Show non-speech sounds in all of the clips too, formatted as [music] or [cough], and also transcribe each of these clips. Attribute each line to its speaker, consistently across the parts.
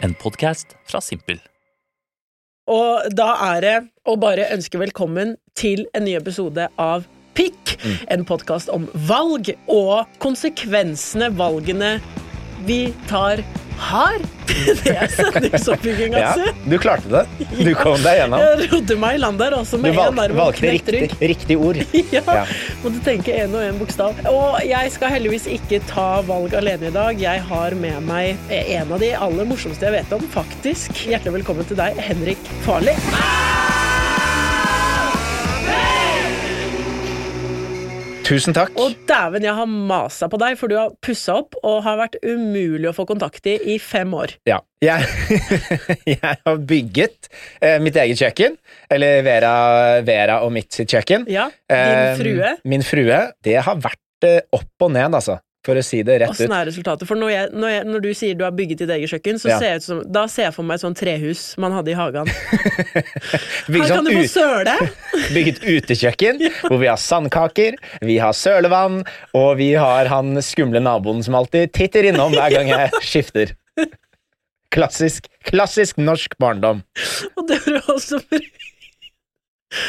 Speaker 1: En podkast fra Simpel.
Speaker 2: Og da er det å bare ønske velkommen til en ny episode av Pikk.
Speaker 3: Mm.
Speaker 2: En podkast om valg og konsekvensene valgene vi tar, har. [laughs] Det er sendingsoppbygging,
Speaker 3: Ja,
Speaker 2: altså.
Speaker 3: du klarte det. Du kom deg gjennom.
Speaker 2: Jeg rodde meg i land der også
Speaker 3: Du
Speaker 2: med én
Speaker 3: valgte,
Speaker 2: arm og
Speaker 3: valgte
Speaker 2: knekt
Speaker 3: riktig,
Speaker 2: rygg.
Speaker 3: riktig ord.
Speaker 2: Ja,
Speaker 3: Ja.
Speaker 2: Måtte tenke én og én bokstav. Og jeg skal heldigvis ikke ta valg alene i dag. Jeg har med meg en av de aller morsomste jeg vet om, faktisk. Hjertelig velkommen til deg, Henrik Farli.
Speaker 3: Tusen takk.
Speaker 2: Og dæven, jeg har masa på deg, for du har pussa opp og har vært umulig å få kontakt i i fem år.
Speaker 3: Ja. Jeg, [laughs] jeg har bygget eh, mitt eget kjøkken. Eller Vera, Vera og mitt sitt kjøkken.
Speaker 2: Ja,
Speaker 3: Eh,
Speaker 2: Din frue.
Speaker 3: Min frue. Det har vært eh, opp og ned, altså. For å si det rett
Speaker 2: Åssen
Speaker 3: ut.
Speaker 2: er resultatet? For når, jeg, når, jeg, når du sier du har bygget ditt eget kjøkken, så
Speaker 3: Ja.
Speaker 2: ser jeg ut som, da ser jeg for meg et sånt trehus man hadde i
Speaker 3: [laughs]
Speaker 2: hagen. Her
Speaker 3: Bygget,
Speaker 2: kan
Speaker 3: sånn
Speaker 2: du få
Speaker 3: ut-
Speaker 2: søle!
Speaker 3: bygget utekjøkken, hvor vi har sandkaker, vi har sølevann, og vi har han skumle naboen som alltid titter innom hver gang jeg skifter. Klassisk, klassisk norsk barndom.
Speaker 2: Og det var du også fru. [laughs]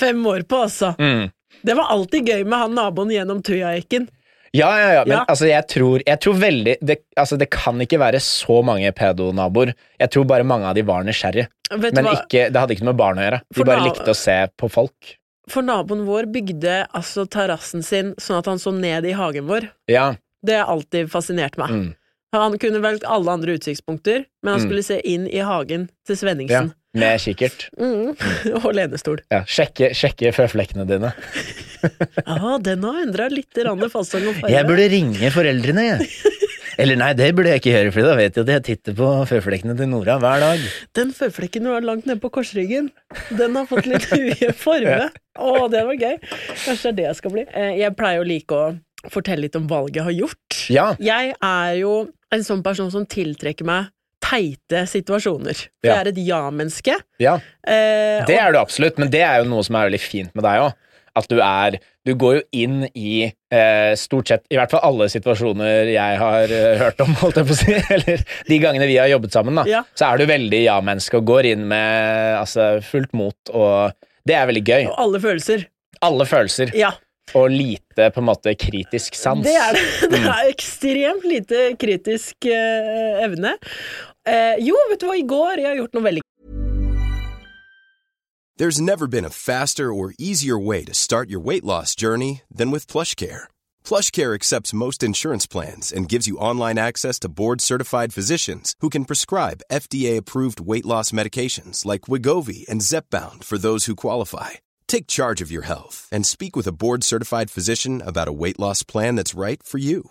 Speaker 2: Fem år på, altså.
Speaker 3: Mm.
Speaker 2: Det var alltid gøy med han naboen gjennom Tujaekken.
Speaker 3: Ja, ja, ja, men
Speaker 2: Ja.
Speaker 3: Altså, jeg tror, jeg tror veldig det, altså, det kan ikke være så mange pedonaboer. Jeg tror bare mange av de var nysgjerrige.
Speaker 2: Vet du
Speaker 3: Men
Speaker 2: hva?
Speaker 3: ikke, det hadde ikke noe med barn å gjøre.
Speaker 2: For
Speaker 3: De bare
Speaker 2: da-
Speaker 3: likte å se på folk.
Speaker 2: For naboen vår bygde altså terrassen sin sånn at han så ned i hagen vår.
Speaker 3: Ja,
Speaker 2: Det har alltid fascinert meg.
Speaker 3: mm.
Speaker 2: Han kunne valgt alle andre utsiktspunkter, men han
Speaker 3: Mm.
Speaker 2: skulle se inn i hagen til
Speaker 3: ja.
Speaker 2: Svenningsen.
Speaker 3: Med kikkert.
Speaker 2: Mm. [laughs] Og lenestol.
Speaker 3: Ja. Sjekke, sjekke føflekkene dine.
Speaker 2: Ah, den har endra litt rann fasong og farge.
Speaker 3: Jeg burde ringe foreldrene,
Speaker 2: [laughs]
Speaker 3: jeg. Eller nei, det burde jeg ikke gjøre, for da vet jeg at jeg titter på føflekkene til Nora hver dag.
Speaker 2: Den føflekken du har langt nede på korsryggen, den har fått litt ujevn forme. Å, det var gøy. Kanskje det er det jeg skal bli. Eh, Jeg pleier å like å fortelle litt om valget jeg har gjort.
Speaker 3: Ja.
Speaker 2: Jeg er jo en sånn person som tiltrekker meg teite situasjoner. For
Speaker 3: Ja.
Speaker 2: jeg er et ja-menneske.
Speaker 3: ja.
Speaker 2: Eh,
Speaker 3: Det er du absolutt, men det er jo noe som er veldig fint med deg òg. At du er Du går jo inn i eh, stort sett I hvert fall alle situasjoner jeg har eh, hørt om, holdt jeg på å si. [laughs] Eller de gangene vi har jobbet sammen, da.
Speaker 2: Ja.
Speaker 3: Så er du veldig ja-menneske og går inn med altså, fullt mot og Det er veldig gøy.
Speaker 2: og alle følelser.
Speaker 3: Alle følelser.
Speaker 2: Ja.
Speaker 3: Og lite på en måte kritisk sans.
Speaker 2: Det er det.
Speaker 3: Mm.
Speaker 2: Det [laughs] er ekstremt lite kritisk eh, evne. Eh, jo, vet du hva, i går Jeg har gjort noe veldig
Speaker 4: There's never been a faster or easier way to start your weight loss journey than with PlushCare. PlushCare accepts most insurance plans and gives you online access to board-certified physicians who can prescribe FDA-approved weight loss medications like Wigovi and Zepbound for those who qualify. Take charge of your health and speak with a board-certified physician about a weight loss plan that's right for you.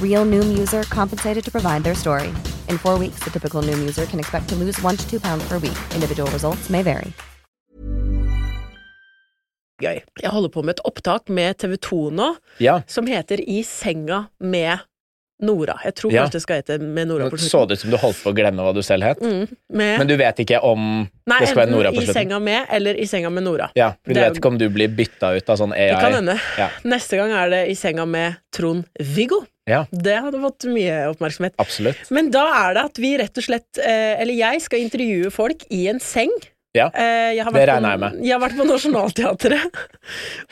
Speaker 5: Real Noom user compensated to provide their story. In four weeks, the typical Noom user can expect to lose one to two pounds per week. Individual results may vary.
Speaker 2: gøy. Jeg holder på med et opptak med TV 2 nå,
Speaker 3: Ja.
Speaker 2: som heter I senga med Nora. Jeg tror
Speaker 3: Ja.
Speaker 2: kanskje det skal hete Med Nora på
Speaker 3: Så det ut som du holdt på å glemme hva du selv het?
Speaker 2: slutten. Med,
Speaker 3: Men du vet ikke om
Speaker 2: nei,
Speaker 3: det skal være
Speaker 2: enten
Speaker 3: Nora på
Speaker 2: I
Speaker 3: slutten?
Speaker 2: senga med eller I senga med Nora.
Speaker 3: Ja,
Speaker 2: Det
Speaker 3: for du
Speaker 2: er
Speaker 3: vet
Speaker 2: jo-
Speaker 3: ikke om du blir bytta ut av sånn AI?
Speaker 2: Det kan hende.
Speaker 3: Ja.
Speaker 2: Neste gang er det I senga med Trond-Viggo.
Speaker 3: Ja,
Speaker 2: Det hadde fått mye oppmerksomhet.
Speaker 3: absolutt.
Speaker 2: Men da er det at vi rett og slett, eh, eller jeg skal intervjue folk i en seng.
Speaker 3: Ja.
Speaker 2: Eh, Jeg har
Speaker 3: Det
Speaker 2: vært på-
Speaker 3: regner jeg med.
Speaker 2: Jeg har vært på [laughs] Nationaltheatret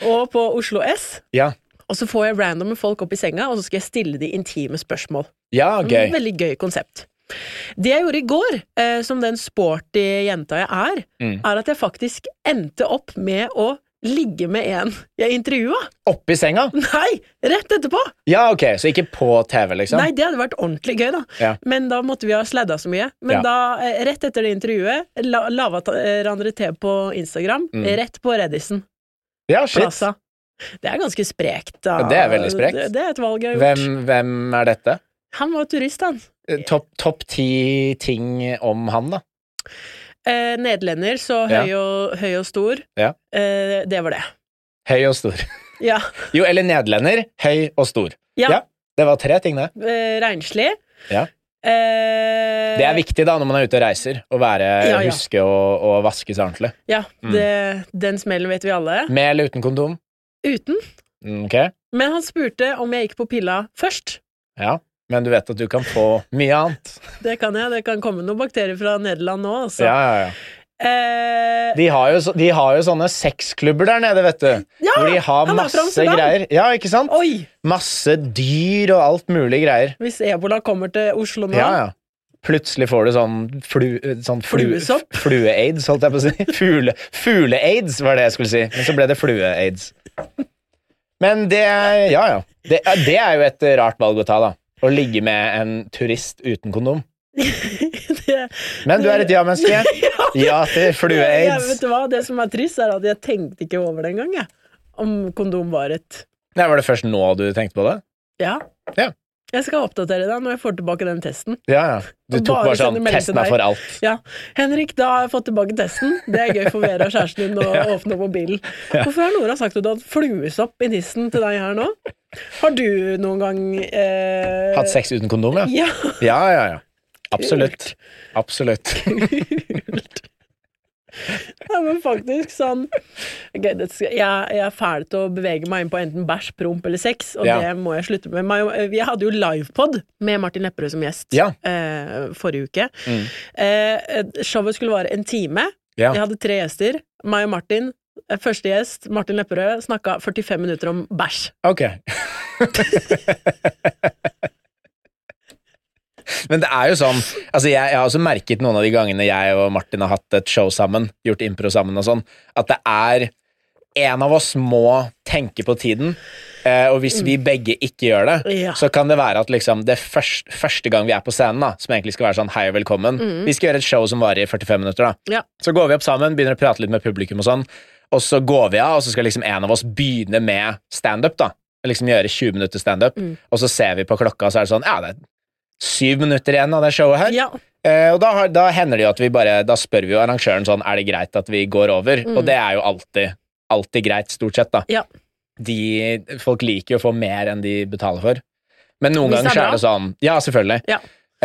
Speaker 2: og på Oslo S.
Speaker 3: Ja,
Speaker 2: Og så får jeg randomme folk opp i senga, og så skal jeg stille de intime spørsmål.
Speaker 3: ja
Speaker 2: Mm,
Speaker 3: gøy.
Speaker 2: Veldig gøy konsept. Det jeg gjorde i går, eh, som den sporty jenta jeg er,
Speaker 3: Mm.
Speaker 2: er at jeg faktisk endte opp med å ligge med en jeg intervjua.
Speaker 3: Oppi senga?
Speaker 2: [laughs] Nei! Rett etterpå!
Speaker 3: Ja, ok, så ikke på TV, liksom?
Speaker 2: Nei, det hadde vært ordentlig gøy, da.
Speaker 3: Ja.
Speaker 2: Men da måtte vi ha sladda så mye. Men
Speaker 3: Ja.
Speaker 2: da, eh, rett etter det intervjuet, la- lava ta- eh, hverandre te på Instagram,
Speaker 3: Mm.
Speaker 2: rett på Reddisen
Speaker 3: ja, shit.
Speaker 2: Plaza. Det er ganske sprekt. Da.
Speaker 3: Ja, det er veldig sprekt.
Speaker 2: Det, det er et valg jeg har gjort.
Speaker 3: Hvem, hvem er dette?
Speaker 2: Han var turist, han.
Speaker 3: Eh, Topp topp ti ting om han, da.
Speaker 2: Eh, nederlender, så
Speaker 3: Ja.
Speaker 2: høy, og, høy og stor.
Speaker 3: Ja.
Speaker 2: Eh, det var det.
Speaker 3: Høy og stor. [laughs]
Speaker 2: Ja.
Speaker 3: Jo, eller nederlender. Høy og stor.
Speaker 2: Ja.
Speaker 3: Det var tre ting, det.
Speaker 2: Eh, Renslig.
Speaker 3: Ja.
Speaker 2: Eh,
Speaker 3: Det er viktig da når man er ute og reiser, å være,
Speaker 2: Ja, ja.
Speaker 3: huske å, å vaske seg ordentlig.
Speaker 2: Ja,
Speaker 3: Mm.
Speaker 2: det, den smellen vet vi alle.
Speaker 3: Med eller uten kondom?
Speaker 2: Uten.
Speaker 3: Mm, Ok,
Speaker 2: Men han spurte om jeg gikk på pilla først.
Speaker 3: ja. Men du vet at du kan få mye annet.
Speaker 2: [laughs] Det kan jeg. Det kan komme noen bakterier fra Nederland nå, altså.
Speaker 3: Ja, ja, ja.
Speaker 2: Eh,
Speaker 3: De har jo, så- de har jo sånne sexklubber der nede, vet du.
Speaker 2: Ja,
Speaker 3: hvor de har
Speaker 2: han er fra
Speaker 3: masse
Speaker 2: Amsterdam.
Speaker 3: greier. Ja, ikke sant?
Speaker 2: oi!
Speaker 3: Masse dyr og alt mulig greier.
Speaker 2: Hvis ebola kommer til Oslo nå
Speaker 3: Ja, ja. Plutselig får du sånn, flu, sånn flu,
Speaker 2: Fluesopp.
Speaker 3: [laughs] flue-aids, holdt jeg på å
Speaker 2: [laughs]
Speaker 3: si. Fugle- Fugle-aids var det jeg skulle si, men så ble det flue-aids. Men det er- Ja, ja. Det, er- det er jo et rart valg å ta, da. Å ligge med en turist uten kondom.
Speaker 2: [laughs] det,
Speaker 3: Men du er et
Speaker 2: [laughs]
Speaker 3: ja-menneske. Ja til
Speaker 2: Ja, vet
Speaker 3: flue-aids.
Speaker 2: du hva? Det som er trist, er at jeg tenkte ikke over det engang, jeg. Om kondom var et
Speaker 3: Nei, Var det først nå du tenkte på det?
Speaker 2: Ja.
Speaker 3: Ja.
Speaker 2: Jeg skal oppdatere deg når jeg får tilbake den testen.
Speaker 3: Ja, ja. Du
Speaker 2: Og
Speaker 3: tok
Speaker 2: bare
Speaker 3: bare
Speaker 2: sende
Speaker 3: sånn
Speaker 2: melding til
Speaker 3: Testen er
Speaker 2: deg.
Speaker 3: for alt.
Speaker 2: Ja. Henrik, da har jeg fått tilbake testen. Det er gøy for Vera og kjæresten din å
Speaker 3: [laughs]
Speaker 2: åpne mobilen. Hvorfor har Nora sagt at du har hatt fluesopp i nissen til deg her nå? Har du noen gang eh...
Speaker 3: Hatt sex uten kondom, ja?
Speaker 2: [laughs] Ja.
Speaker 3: Ja, ja, ja. Absolutt.
Speaker 2: [laughs]
Speaker 3: Absolutt.
Speaker 2: ja, men faktisk sånn Ok, det skal, jeg, jeg er fæl til å bevege meg inn på enten bæsj, promp eller sex, og
Speaker 3: Ja.
Speaker 2: det må jeg slutte med. Meg- Jeg hadde jo livepod med Martin Lepperød som gjest
Speaker 3: Ja. Mm.
Speaker 2: eh, forrige uke. Eh, showet skulle vare en time.
Speaker 3: Ja.
Speaker 2: Jeg hadde tre gjester. Meg og Martin. eh, Første gjest, Martin Lepperød, snakka 45 minutter om bæsj.
Speaker 3: Ok. Men det er jo sånn altså jeg, jeg har også merket noen av de gangene jeg og Martin har hatt et show sammen, gjort impro sammen og sånn, at det er En av oss må tenke på tiden, eh, og hvis vi begge ikke gjør det,
Speaker 2: Ja.
Speaker 3: så kan det være at liksom det første, første gang vi er på scenen, da, som egentlig skal være sånn hei og velkommen Vi skal gjøre et show som varer i 45 minutter, da.
Speaker 2: Ja.
Speaker 3: Så går vi opp sammen, begynner å prate litt med publikum og sånn, og så går vi av, og så skal liksom en av oss begynne med standup, da. Liksom gjøre 20 minutter standup, og så ser vi på klokka, og så er det sånn, ja, det er syv minutter igjen av det showet her.
Speaker 2: Ja.
Speaker 3: Eh, og da, har, da hender det jo at vi bare, da spør vi jo arrangøren sånn, er det greit at vi går over? Og det er jo alltid, alltid greit, stort sett, da.
Speaker 2: ja.
Speaker 3: De, folk liker jo å få mer enn de betaler for. Men noen
Speaker 2: Hvis det er
Speaker 3: ganger så er det sånn, ja, selvfølgelig.
Speaker 2: Ja.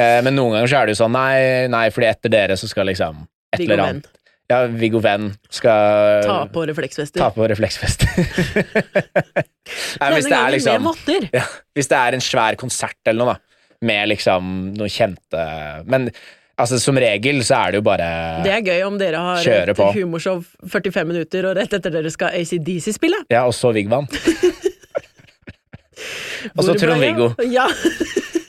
Speaker 3: Eh, men noen ganger så er det jo sånn, nei, nei, fordi etter dere så skal liksom et
Speaker 2: Viggo
Speaker 3: eller
Speaker 2: Venn.
Speaker 3: annet ja, Viggo Venn skal
Speaker 2: Ta på refleksvester.
Speaker 3: Eh, ta på refleksvest. [laughs] Nei, men hvis det er
Speaker 2: med
Speaker 3: liksom
Speaker 2: votter.
Speaker 3: ja, Hvis det er en svær konsert eller noe, da, med liksom noen kjente Men altså, som regel så er det jo bare
Speaker 2: Det er gøy om dere har
Speaker 3: Kjøre
Speaker 2: et
Speaker 3: på.
Speaker 2: humorshow 45 minutter, og rett etter dere skal ACDC spille.
Speaker 3: Ja, og så
Speaker 2: [laughs]
Speaker 3: Vigvan. og så
Speaker 2: Hvor ble
Speaker 3: Trond-Viggo.
Speaker 2: jeg-
Speaker 3: [laughs]
Speaker 2: Ja.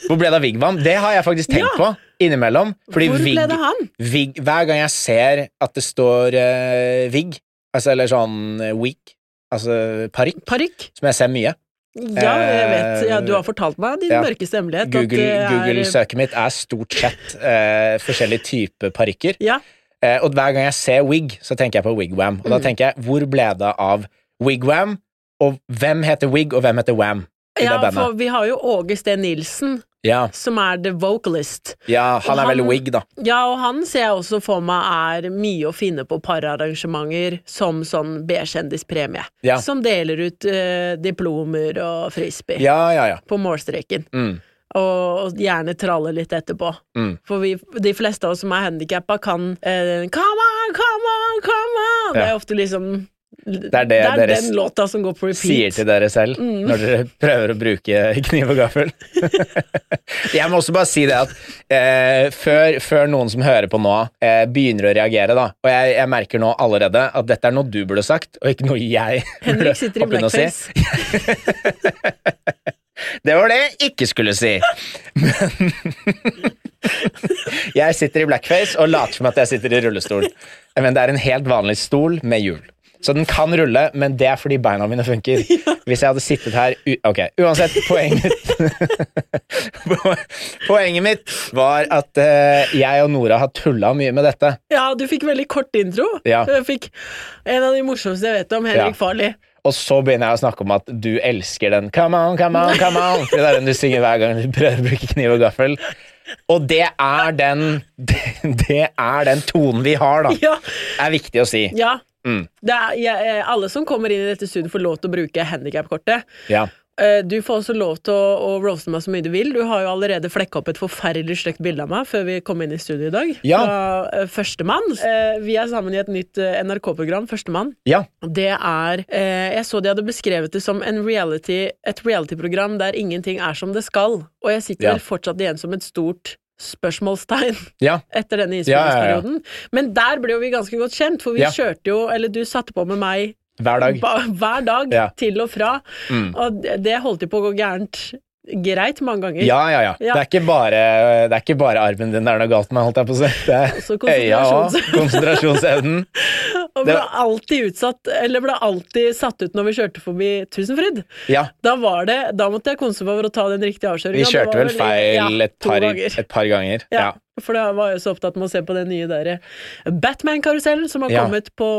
Speaker 3: Hvor ble det av Vigvan? Det har jeg faktisk tenkt
Speaker 2: Ja.
Speaker 3: på innimellom. Fordi
Speaker 2: Hvor ble
Speaker 3: Vig-
Speaker 2: det av han?
Speaker 3: Vig, hver gang jeg ser at det står eh, Vig, altså, eller sånn eh, Week, altså parykk,
Speaker 2: Parykk.
Speaker 3: som jeg ser mye
Speaker 2: Ja, jeg vet. Ja, du har fortalt meg din
Speaker 3: Eh, Ja.
Speaker 2: mørkeste hemmelighet. at
Speaker 3: Google-
Speaker 2: det er-
Speaker 3: Google-søket mitt er stort sett eh, forskjellige typer parykker.
Speaker 2: Ja.
Speaker 3: Eh, og hver gang jeg ser wig, så tenker jeg på wigwam. Og da
Speaker 2: Mm.
Speaker 3: tenker jeg, hvor ble det av wigwam, og hvem heter wig, og hvem heter wam? I det
Speaker 2: ja,
Speaker 3: bandet.
Speaker 2: for vi har jo Åge Steen Nilsen,
Speaker 3: Ja,
Speaker 2: som er the vocalist.
Speaker 3: ja, han
Speaker 2: Og
Speaker 3: er vel
Speaker 2: han-
Speaker 3: wig, da.
Speaker 2: Ja, og han ser jeg også for meg er mye å finne på pararrangementer som sånn B-kjendispremie.
Speaker 3: Ja.
Speaker 2: Som deler ut eh, diplomer og frisbee
Speaker 3: Ja, ja, ja.
Speaker 2: på målstreken.
Speaker 3: Mm.
Speaker 2: og gjerne tralle litt etterpå.
Speaker 3: Mm.
Speaker 2: For vi, de fleste av oss som er handikappa, kan eh, Come on, come on, come on! Det
Speaker 3: Ja.
Speaker 2: er ofte liksom Det
Speaker 3: er det dere s-
Speaker 2: den låta som går på repeat. [laughs]
Speaker 3: Sier til dere selv når dere prøver å bruke kniv og gaffel. jeg må også bare si det at eh, før, før noen som hører på nå, eh, begynner å reagere, da Og jeg, jeg merker nå allerede at dette er noe du burde sagt, og ikke noe jeg [laughs] burde
Speaker 2: Henrik sitter i
Speaker 3: hoppe inn og si.
Speaker 2: blackface.
Speaker 3: Det var det jeg ikke skulle si. Men [laughs] jeg sitter i blackface og later som at jeg sitter i rullestol. Men det er en helt vanlig stol med hjul. Så den kan rulle, men det er fordi beina mine funker. Hvis jeg hadde sittet her u Ok, uansett, poenget mitt [laughs] Poenget mitt var at eh, jeg og Nora har tulla mye med dette.
Speaker 2: Ja, du fikk veldig kort intro.
Speaker 3: Ja.
Speaker 2: Jeg fikk en av de morsomste jeg vet om, Henrik
Speaker 3: Ja.
Speaker 2: Farley.
Speaker 3: Og så begynner jeg å snakke om at du elsker den Come on, come on, come on For Det er den du synger hver gang du prøver å bruke kniv og gaffel Og det er den Det, det er den tonen vi har da
Speaker 2: Ja.
Speaker 3: Er viktig å si
Speaker 2: Ja.
Speaker 3: Mm.
Speaker 2: Det er, jeg, eh, alle som kommer inn i dette studioet, får lov til å bruke handikapkortet.
Speaker 3: Ja,
Speaker 2: Eh, Du får også lov til å, å roaste meg så mye du vil. Du har jo allerede flekka opp et forferdelig stygt bilde av meg før vi kom inn i studio i dag.
Speaker 3: Ja.
Speaker 2: Fra eh, Førstemann. Eh, Vi er sammen i et nytt eh, NRK-program, Førstemann.
Speaker 3: ja,
Speaker 2: Det er eh, Jeg så de hadde beskrevet det som en reality, et reality-program der ingenting er som det skal. Og jeg sitter
Speaker 3: Ja.
Speaker 2: vel fortsatt igjen som et stort spørsmålstegn [laughs]
Speaker 3: ja,
Speaker 2: etter denne
Speaker 3: ja, ja.
Speaker 2: innspillingsperioden. Men der ble jo vi ganske godt kjent, for vi
Speaker 3: Ja.
Speaker 2: kjørte jo, eller du satte på med meg
Speaker 3: hver dag
Speaker 2: ba, hver dag
Speaker 3: Ja.
Speaker 2: til og fra,
Speaker 3: Mm.
Speaker 2: og det- det holdt jo på å gå gærent greit mange ganger.
Speaker 3: ja, ja, ja.
Speaker 2: Ja.
Speaker 3: Det, er ikke bare, det er ikke bare armen din det er noe galt med, holdt jeg på å si. Det er
Speaker 2: Også
Speaker 3: øya og
Speaker 2: konsentrasjons-
Speaker 3: konsentrasjonsevnen.
Speaker 2: og ble
Speaker 3: det-
Speaker 2: alltid utsatt, eller ble alltid satt ut når vi kjørte forbi Tusenfryd.
Speaker 3: Ja,
Speaker 2: Da var det, da måtte jeg konse meg for å ta den riktige
Speaker 3: vi
Speaker 2: avkjøringa.
Speaker 3: kjørte vel feil et par,
Speaker 2: ganger.
Speaker 3: et par ganger.
Speaker 2: [laughs] Ja,
Speaker 3: Ja.
Speaker 2: For da var jeg så opptatt med å se på den nye der eh, Batman-karusellen som har
Speaker 3: Ja.
Speaker 2: kommet på,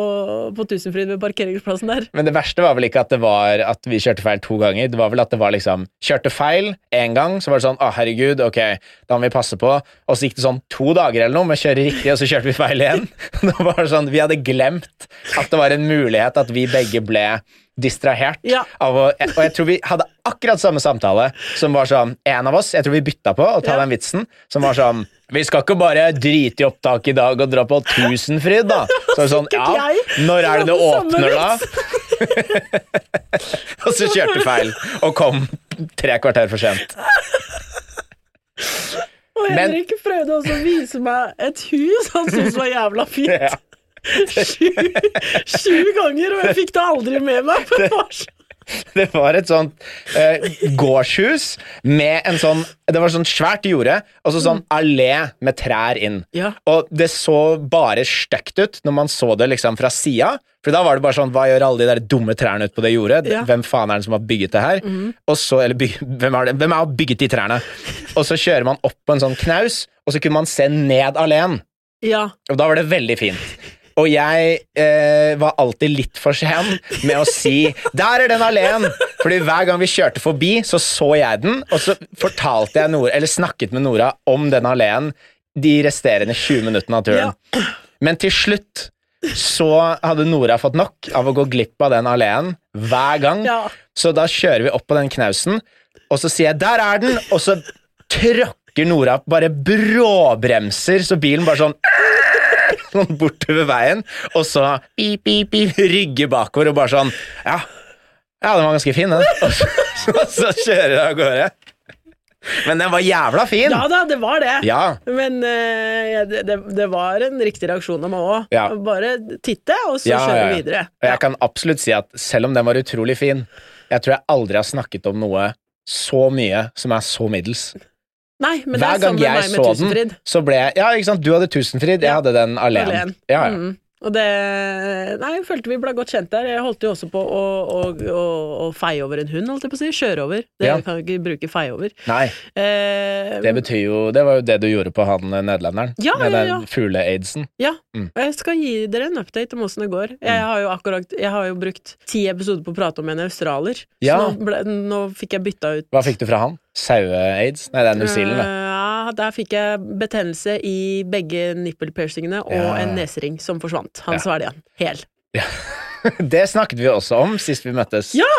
Speaker 2: på Tusenfryd ved parkeringsplassen der.
Speaker 3: Men det verste var vel ikke at det var at vi kjørte feil to ganger. Det var vel at det var liksom Kjørte feil én gang, så var det sånn Å, herregud, ok, da må vi passe på. Og så gikk det sånn to dager eller noe med å kjøre riktig, og så kjørte vi feil igjen. [laughs] Da var det sånn Vi hadde glemt at det var en mulighet at vi begge ble distrahert.
Speaker 2: Ja.
Speaker 3: Av å, og jeg tror vi hadde akkurat samme samtale som var sånn En av oss, jeg tror vi bytta på å ta
Speaker 2: Ja.
Speaker 3: den vitsen, som var sånn Vi skal ikke bare drite i opptaket i dag og dra på Tusenfryd, da. Så var det sånn
Speaker 2: Sikkert
Speaker 3: Ja,
Speaker 2: jeg
Speaker 3: når er det det
Speaker 2: som hadde samme
Speaker 3: åpner,
Speaker 2: vits.
Speaker 3: da? [laughs] Og så kjørte feil og kom tre kvarter for sent.
Speaker 2: Og
Speaker 3: Men-
Speaker 2: Henrik prøvde også å vise meg et hus han syntes var jævla fint.
Speaker 3: Ja.
Speaker 2: Sju, sju ganger, og jeg fikk det aldri med meg. for det var så-
Speaker 3: [laughs] Det var et sånt eh, gårdshus med en sånn Det var sånn svært jorde og så sånn allé med trær inn.
Speaker 2: Mm. Ja.
Speaker 3: Og det så bare stygt ut når man så det liksom fra sida. For da var det bare sånn Hva gjør alle de der dumme trærne ute på det jordet?
Speaker 2: Ja. Mm.
Speaker 3: Hvem faen er det som har bygget det her? Og så, eller byg, hvem, er det, hvem har bygget de trærne? Og så kjører man opp på en sånn knaus, og så kunne man se ned alleen.
Speaker 2: Ja.
Speaker 3: Og da var det veldig fint. Og jeg eh, var alltid litt for sen med å si 'der er den alleen'. Fordi hver gang vi kjørte forbi, så så jeg den, og så fortalte jeg Nora, eller snakket med Nora om den alleen de resterende 20 minuttene av turen. Men til slutt så hadde Nora fått nok av å gå glipp av den alleen hver gang.
Speaker 2: Ja.
Speaker 3: Så da kjører vi opp på den knausen, og så sier jeg 'der er den', og så tråkker Nora bare bråbremser, så bilen bare sånn [laughs] sånn bortover veien, og så pip, pip, pip, rygge bakover og bare sånn Ja, ja den var ganske fin, den. [laughs] Og så, så, så kjører jeg av gårde. Men den var jævla fin!
Speaker 2: ja da, det var det.
Speaker 3: Ja.
Speaker 2: Men eh, ja, det, det- det var en riktig reaksjon av meg òg.
Speaker 3: Ja.
Speaker 2: Bare titte, og så
Speaker 3: Ja,
Speaker 2: kjøre
Speaker 3: ja, ja.
Speaker 2: videre.
Speaker 3: Og jeg kan absolutt si at selv om den var utrolig fin, jeg tror jeg aldri har snakket om noe så mye som er så middels.
Speaker 2: Nei, men det er
Speaker 3: Hver gang
Speaker 2: sammen med
Speaker 3: jeg
Speaker 2: meg med
Speaker 3: så den,
Speaker 2: Tusenfryd.
Speaker 3: så ble jeg Ja, ikke sant, du hadde Tusenfryd, jeg
Speaker 2: Ja,
Speaker 3: hadde den alene.
Speaker 2: Alene.
Speaker 3: Ja, ja.
Speaker 2: Mm. Og det Nei, jeg følte vi ble godt kjent der. Jeg holdt jo også på å, å, å, å feie over en hund, holdt jeg på å si. Kjøre over. Det
Speaker 3: Ja.
Speaker 2: kan jo ikke bruke feie over.
Speaker 3: Nei,
Speaker 2: Eh,
Speaker 3: det betyr jo Det var jo det du gjorde på han eh, nederlenderen.
Speaker 2: Ja,
Speaker 3: med
Speaker 2: ja, ja.
Speaker 3: den fugle-aidsen.
Speaker 2: Ja,
Speaker 3: Mm.
Speaker 2: og jeg skal gi dere en update om åssen det går. Jeg har jo akkurat Jeg har jo brukt ti episoder på å prate om en australier,
Speaker 3: Ja.
Speaker 2: så nå, ble, nå fikk jeg bytta ut
Speaker 3: Hva fikk du fra han? Saue-aids? Nei, det er New Zealand, det.
Speaker 2: Eh, Ja, der fikk jeg betennelse i begge nippelpiercingene og
Speaker 3: Ja.
Speaker 2: en nesering som forsvant.
Speaker 3: Ja.
Speaker 2: Han svelget den hel.
Speaker 3: Det [laughs] snakket vi også om sist vi møttes.
Speaker 2: Ja!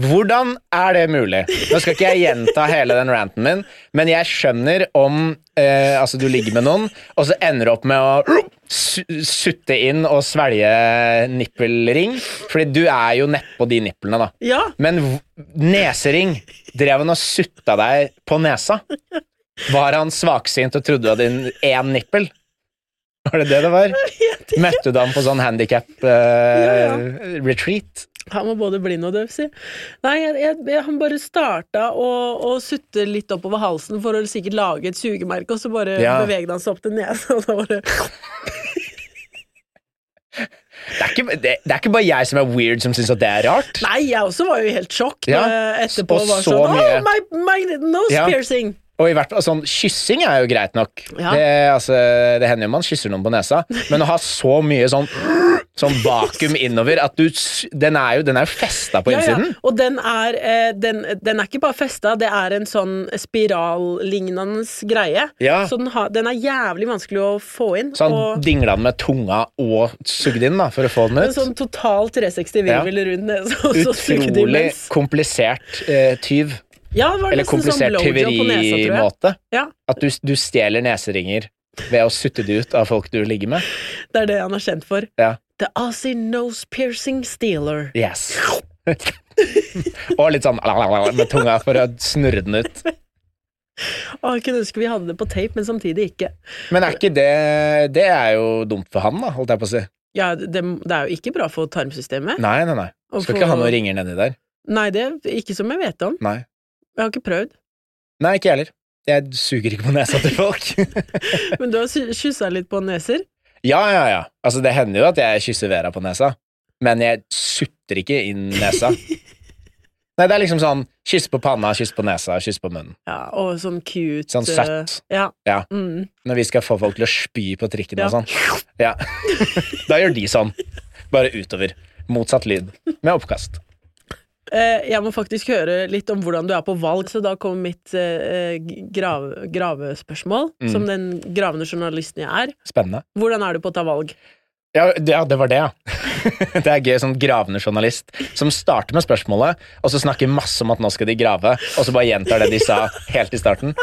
Speaker 3: Hvordan er det mulig? Nå skal ikke jeg gjenta hele den ranten min, men jeg skjønner om eh, Altså, du ligger med noen, og så ender du opp med å su- sutte inn og svelge nippelring. Fordi du er jo nedpå de nipplene, da.
Speaker 2: Ja!
Speaker 3: Men v- nesering Drev han og sutta deg på nesa? Var han svaksynt og trodde du hadde en- én nippel? Var det det det var? Møtte du ham på sånn eh, handikap-retreat?
Speaker 2: Han var både blind og døv, si. Nei, jeg, jeg, jeg, han bare starta å, å sutte litt oppover halsen for å sikkert lage et sugemerke, og så bare
Speaker 3: Ja.
Speaker 2: bevegde han seg opp til nesa, og da var det
Speaker 3: det, er ikke- det, det er ikke bare jeg som er weird som syns at det er rart.
Speaker 2: Nei, jeg også var jo helt sjokk
Speaker 3: Ja,
Speaker 2: når jeg etterpå
Speaker 3: og
Speaker 2: var
Speaker 3: så
Speaker 2: sånn
Speaker 3: mye.
Speaker 2: Oh, my, my nose
Speaker 3: Ja.
Speaker 2: piercing!
Speaker 3: Og i hvert fall sånn, Kyssing er jo greit nok.
Speaker 2: Ja.
Speaker 3: Det, altså, det hender jo man kysser noen på nesa, men å ha så mye sånn Sånn vakuum innover. At du, s- den er jo den er jo festa på
Speaker 2: Ja, ja.
Speaker 3: innsiden.
Speaker 2: Og den er, eh, den, den er ikke bare festa, det er en sånn spirallignende greie.
Speaker 3: Ja.
Speaker 2: Så den, har, den er jævlig vanskelig å få inn.
Speaker 3: Så han
Speaker 2: og
Speaker 3: dingla den med tunga og sugde inn da, for å få den
Speaker 2: en
Speaker 3: ut.
Speaker 2: sånn total 360 virvel rundt nesa. [laughs] og så sugde de
Speaker 3: Utrolig
Speaker 2: mens.
Speaker 3: komplisert eh, tyv.
Speaker 2: Ja, det var
Speaker 3: Eller
Speaker 2: nesten sånn
Speaker 3: komplisert
Speaker 2: blowjob på nesa, tror jeg.
Speaker 3: tyverimåte.
Speaker 2: Ja,
Speaker 3: At du, du stjeler neseringer ved å sutte de ut av folk du ligger med.
Speaker 2: det er det han er kjent for.
Speaker 3: Ja.
Speaker 2: The Aussie Nose Piercing Stealer.
Speaker 3: Yes. [laughs] og litt sånn med tunga for å snurre den ut.
Speaker 2: Å, jeg kunne ønske vi hadde det på tape, men samtidig ikke.
Speaker 3: Men er ikke det Det er jo dumt for han, da, holdt jeg på å si.
Speaker 2: Ja, det, det er jo ikke bra for tarmsystemet.
Speaker 3: Nei, nei, nei.
Speaker 2: Og
Speaker 3: Skal
Speaker 2: for-
Speaker 3: ikke ha noen ringer nedi der.
Speaker 2: Nei, det ikke som jeg vet om.
Speaker 3: Nei.
Speaker 2: Jeg har ikke prøvd.
Speaker 3: Nei, ikke jeg heller. Jeg suger ikke på nesa til folk. [laughs]
Speaker 2: Men du har sy- kyssa litt på neser.
Speaker 3: ja, ja, ja. Altså, det hender jo at jeg kysser Vera på nesa, men jeg sutter ikke inn
Speaker 2: [laughs]
Speaker 3: nesa. Nei, det er liksom sånn kyss på panna, kyss på nesa, kyss på munnen.
Speaker 2: Ja, og sånn cute
Speaker 3: Sånn
Speaker 2: eh,
Speaker 3: søtt.
Speaker 2: Ja.
Speaker 3: Ja.
Speaker 2: Mm.
Speaker 3: Når vi skal få folk til å spy på trikken
Speaker 2: Ja.
Speaker 3: og sånn. Ja. [laughs] da gjør de sånn. Bare utover. Motsatt lyd. Med oppkast.
Speaker 2: Eh, jeg må faktisk høre litt om hvordan du er på valg, så da kommer mitt eh, g- grav, gravespørsmål,
Speaker 3: Mm.
Speaker 2: som den gravende journalisten jeg er.
Speaker 3: Spennende.
Speaker 2: Hvordan er du på å ta valg?
Speaker 3: Ja, det, ja, det var det, ja. [laughs] Det er gøy, sånn gravende journalist som starter med spørsmålet, og så snakker masse om at nå skal de grave, og så bare gjentar det de sa helt i starten.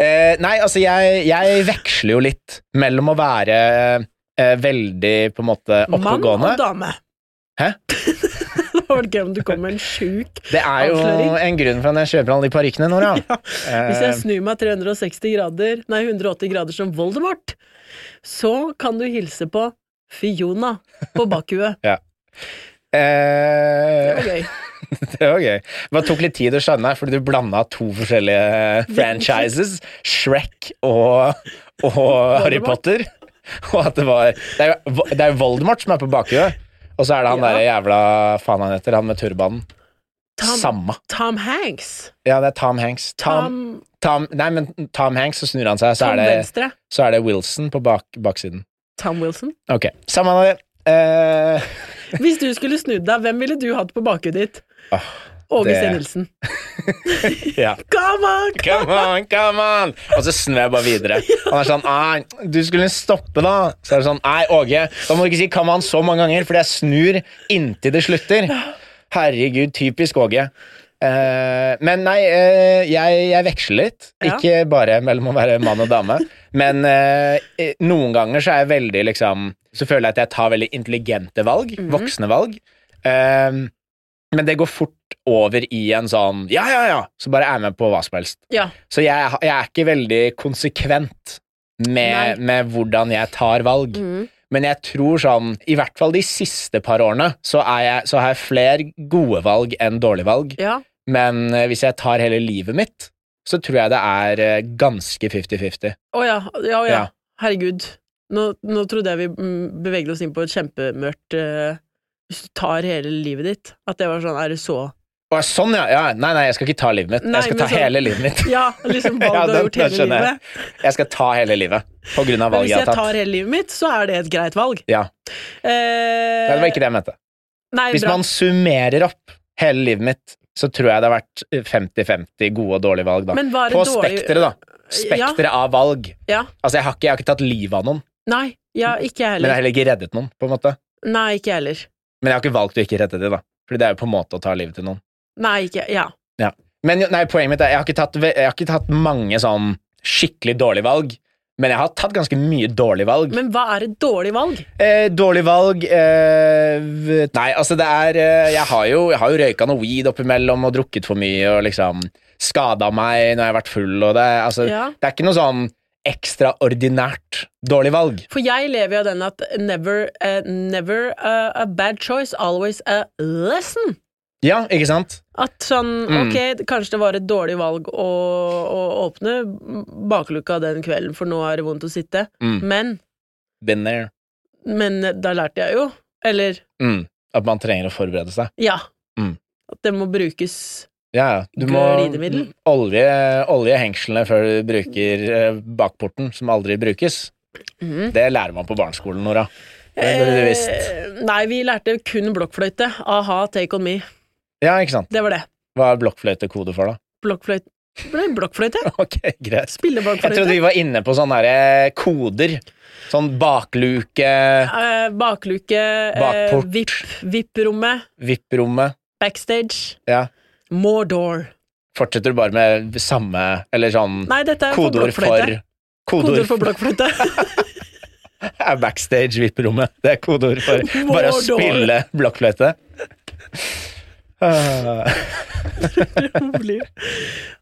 Speaker 3: Eh, nei, altså, jeg, jeg veksler jo litt mellom å være eh, veldig på en måte
Speaker 2: Mann og
Speaker 3: oppegående
Speaker 2: dame.
Speaker 3: Hæ?
Speaker 2: [laughs] det hadde vært gøy om du kom med en sjuk
Speaker 3: Det er jo
Speaker 2: Avsløring.
Speaker 3: en grunn for at jeg kjøper alle de parykkene, Nora.
Speaker 2: [laughs] ja. Hvis jeg
Speaker 3: Eh,
Speaker 2: snur meg 360 grader, nei 180 grader som Voldemort, så kan du hilse på Fiona på bakhuet. Det
Speaker 3: eh, [laughs]
Speaker 2: var gøy.
Speaker 3: Det var gøy. Men det tok litt tid å skjønne, fordi du blanda to forskjellige eh, franchises. Shrek og, og Harry Potter. Og at det var Det er jo det er jo Voldemort som er på bakhuet. Og så er det han
Speaker 2: Ja.
Speaker 3: der jævla faen han heter, han med turbanen.
Speaker 2: Tom-
Speaker 3: Samme.
Speaker 2: Tom Hanks.
Speaker 3: Ja, det er Tom Hanks. Tom,
Speaker 2: Tom,
Speaker 3: Tom Nei, men Tom Hanks, så snur han seg, så
Speaker 2: Tom
Speaker 3: er det,
Speaker 2: Venstre.
Speaker 3: så er det Wilson på bak, baksiden.
Speaker 2: Tom Wilson.
Speaker 3: Ok. Samme av det. Eh, [laughs]
Speaker 2: Hvis du skulle snudd deg, hvem ville du hatt på bakhuet ditt? Åge
Speaker 3: Ah, det-
Speaker 2: Sten Nilsen.
Speaker 3: ja.
Speaker 2: Come on!
Speaker 3: Come on, come on! Og så snur jeg bare videre. Han er sånn Nei, du skulle stoppe, da. Så er det sånn Nei, Åge, da må du ikke si come on så mange ganger, fordi jeg snur inntil det slutter. Herregud, typisk Åge. Eh, men nei, eh, jeg, jeg veksler litt.
Speaker 2: Ja.
Speaker 3: Ikke bare mellom å være mann og dame. Men eh, eh, noen ganger så er jeg veldig liksom Så føler jeg at jeg tar veldig intelligente valg. Voksne valg. Eh, men det går fort over i en sånn ja, ja, ja, så bare er jeg med på hva som helst.
Speaker 2: Ja.
Speaker 3: Så jeg, jeg er ikke veldig konsekvent med, med hvordan jeg tar valg.
Speaker 2: Mm.
Speaker 3: Men jeg tror sånn, i hvert fall de siste par årene, så, er jeg, så har jeg flere gode valg enn dårlige valg.
Speaker 2: ja.
Speaker 3: Men eh, hvis jeg tar hele livet mitt, så tror jeg det er eh, ganske 50-50.
Speaker 2: Å ja. Ja, ja.
Speaker 3: Ja.
Speaker 2: Herregud. Nå, nå trodde jeg vi mm, beveget oss inn på et kjempemørkt eh, Hvis du tar hele livet ditt. At det var sånn Er det så
Speaker 3: Å, Sånn, ja, ja! Nei, nei, jeg skal ikke ta livet mitt.
Speaker 2: Nei,
Speaker 3: jeg skal
Speaker 2: men
Speaker 3: ta
Speaker 2: sånn-
Speaker 3: hele livet mitt.
Speaker 2: Ja, liksom valg
Speaker 3: [laughs] Ja,
Speaker 2: du
Speaker 3: den-
Speaker 2: har gjort
Speaker 3: den
Speaker 2: hele
Speaker 3: skjønner jeg.
Speaker 2: livet.
Speaker 3: Jeg skal ta hele livet på grunn
Speaker 2: Men
Speaker 3: av valget
Speaker 2: hvis
Speaker 3: jeg
Speaker 2: jeg
Speaker 3: har
Speaker 2: tar
Speaker 3: tatt.
Speaker 2: hele livet mitt, så er det et greit valg.
Speaker 3: Ja.
Speaker 2: Eh,
Speaker 3: Nei, det var ikke det jeg mente.
Speaker 2: Nei,
Speaker 3: Hvis
Speaker 2: bra.
Speaker 3: man summerer opp hele livet mitt, så tror jeg det har vært 50-50 gode og dårlige valg, da.
Speaker 2: Men var det
Speaker 3: På
Speaker 2: dårlig-
Speaker 3: spekteret, da. Spekteret av valg.
Speaker 2: Ja.
Speaker 3: Altså, jeg har, ikke, jeg har ikke tatt livet av noen,
Speaker 2: Nei, ja, ikke jeg
Speaker 3: men jeg har
Speaker 2: heller.
Speaker 3: heller ikke reddet noen, på en måte.
Speaker 2: Nei, ikke jeg heller.
Speaker 3: Men jeg har ikke valgt å ikke redde dem, da. Fordi det er jo på en måte å ta livet til noen.
Speaker 2: Nei, ikke Ja.
Speaker 3: Ja. Men jo- nei, poenget mitt er, jeg har ikke tatt, ve- jeg har ikke tatt mange sånn skikkelig dårlige valg, men jeg har tatt ganske mye dårlige valg.
Speaker 2: Men hva er et dårlig valg?
Speaker 3: Eh, dårlig valg eh, v- Nei, altså det er eh, Jeg har jo, jeg har jo røyka noe weed oppimellom og drukket for mye og liksom skada meg når jeg har vært full. Og det, er- altså,
Speaker 2: Ja.
Speaker 3: det er ikke noe sånn ekstraordinært dårlig valg.
Speaker 2: For jeg lever jo av den at never, eh, never eh, a bad choice, always a lesson.
Speaker 3: Ja, ikke sant?
Speaker 2: At sånn,
Speaker 3: Mm.
Speaker 2: ok, kanskje det var et dårlig valg å, å åpne bakluka den kvelden, for nå er det vondt å sitte.
Speaker 3: Mm.
Speaker 2: Men,
Speaker 3: Been there.
Speaker 2: men da lærte jeg jo, eller,
Speaker 3: Mm. At man trenger å forberede seg.
Speaker 2: ja,
Speaker 3: Mm.
Speaker 2: at det må brukes.
Speaker 3: Ja, ja. Du må
Speaker 2: Glidemiddel.
Speaker 3: olje, olje hengslene før du bruker eh, bakporten, som aldri brukes.
Speaker 2: Mhm.
Speaker 3: Det lærer man på barneskolen, Nora. Det burde du visst.
Speaker 2: Eh, Nei, vi lærte kun blokkfløyte. Aha, take on me.
Speaker 3: Ja, ikke sant.
Speaker 2: Det var det.
Speaker 3: Hva er blokkfløyte kode for, da?
Speaker 2: Blokkfløyte Det ble blokkfløyte.
Speaker 3: [laughs] Ok, greit.
Speaker 2: Spille
Speaker 3: Jeg trodde
Speaker 2: blokkfløyte.
Speaker 3: vi var inne på sånne der koder. Sånn bakluke,
Speaker 2: Eh, bakluke, eh,
Speaker 3: Bakport.
Speaker 2: VIP, VIP-rommet,
Speaker 3: VIP-rommet.
Speaker 2: backstage,
Speaker 3: Ja.
Speaker 2: more door.
Speaker 3: Fortsetter du bare med samme Eller sånn
Speaker 2: Nei, dette er for
Speaker 3: kodeord for
Speaker 2: blokkfløyte.
Speaker 3: Kodeord
Speaker 2: Kodeord for
Speaker 3: for [laughs]
Speaker 2: blokkfløyte. [laughs]
Speaker 3: er backstage VIP-rommet. Det er kodeord
Speaker 2: [laughs]
Speaker 3: for bare å
Speaker 2: Mordor.
Speaker 3: spille blokkfløyte. [laughs] Ah,
Speaker 2: Rolig.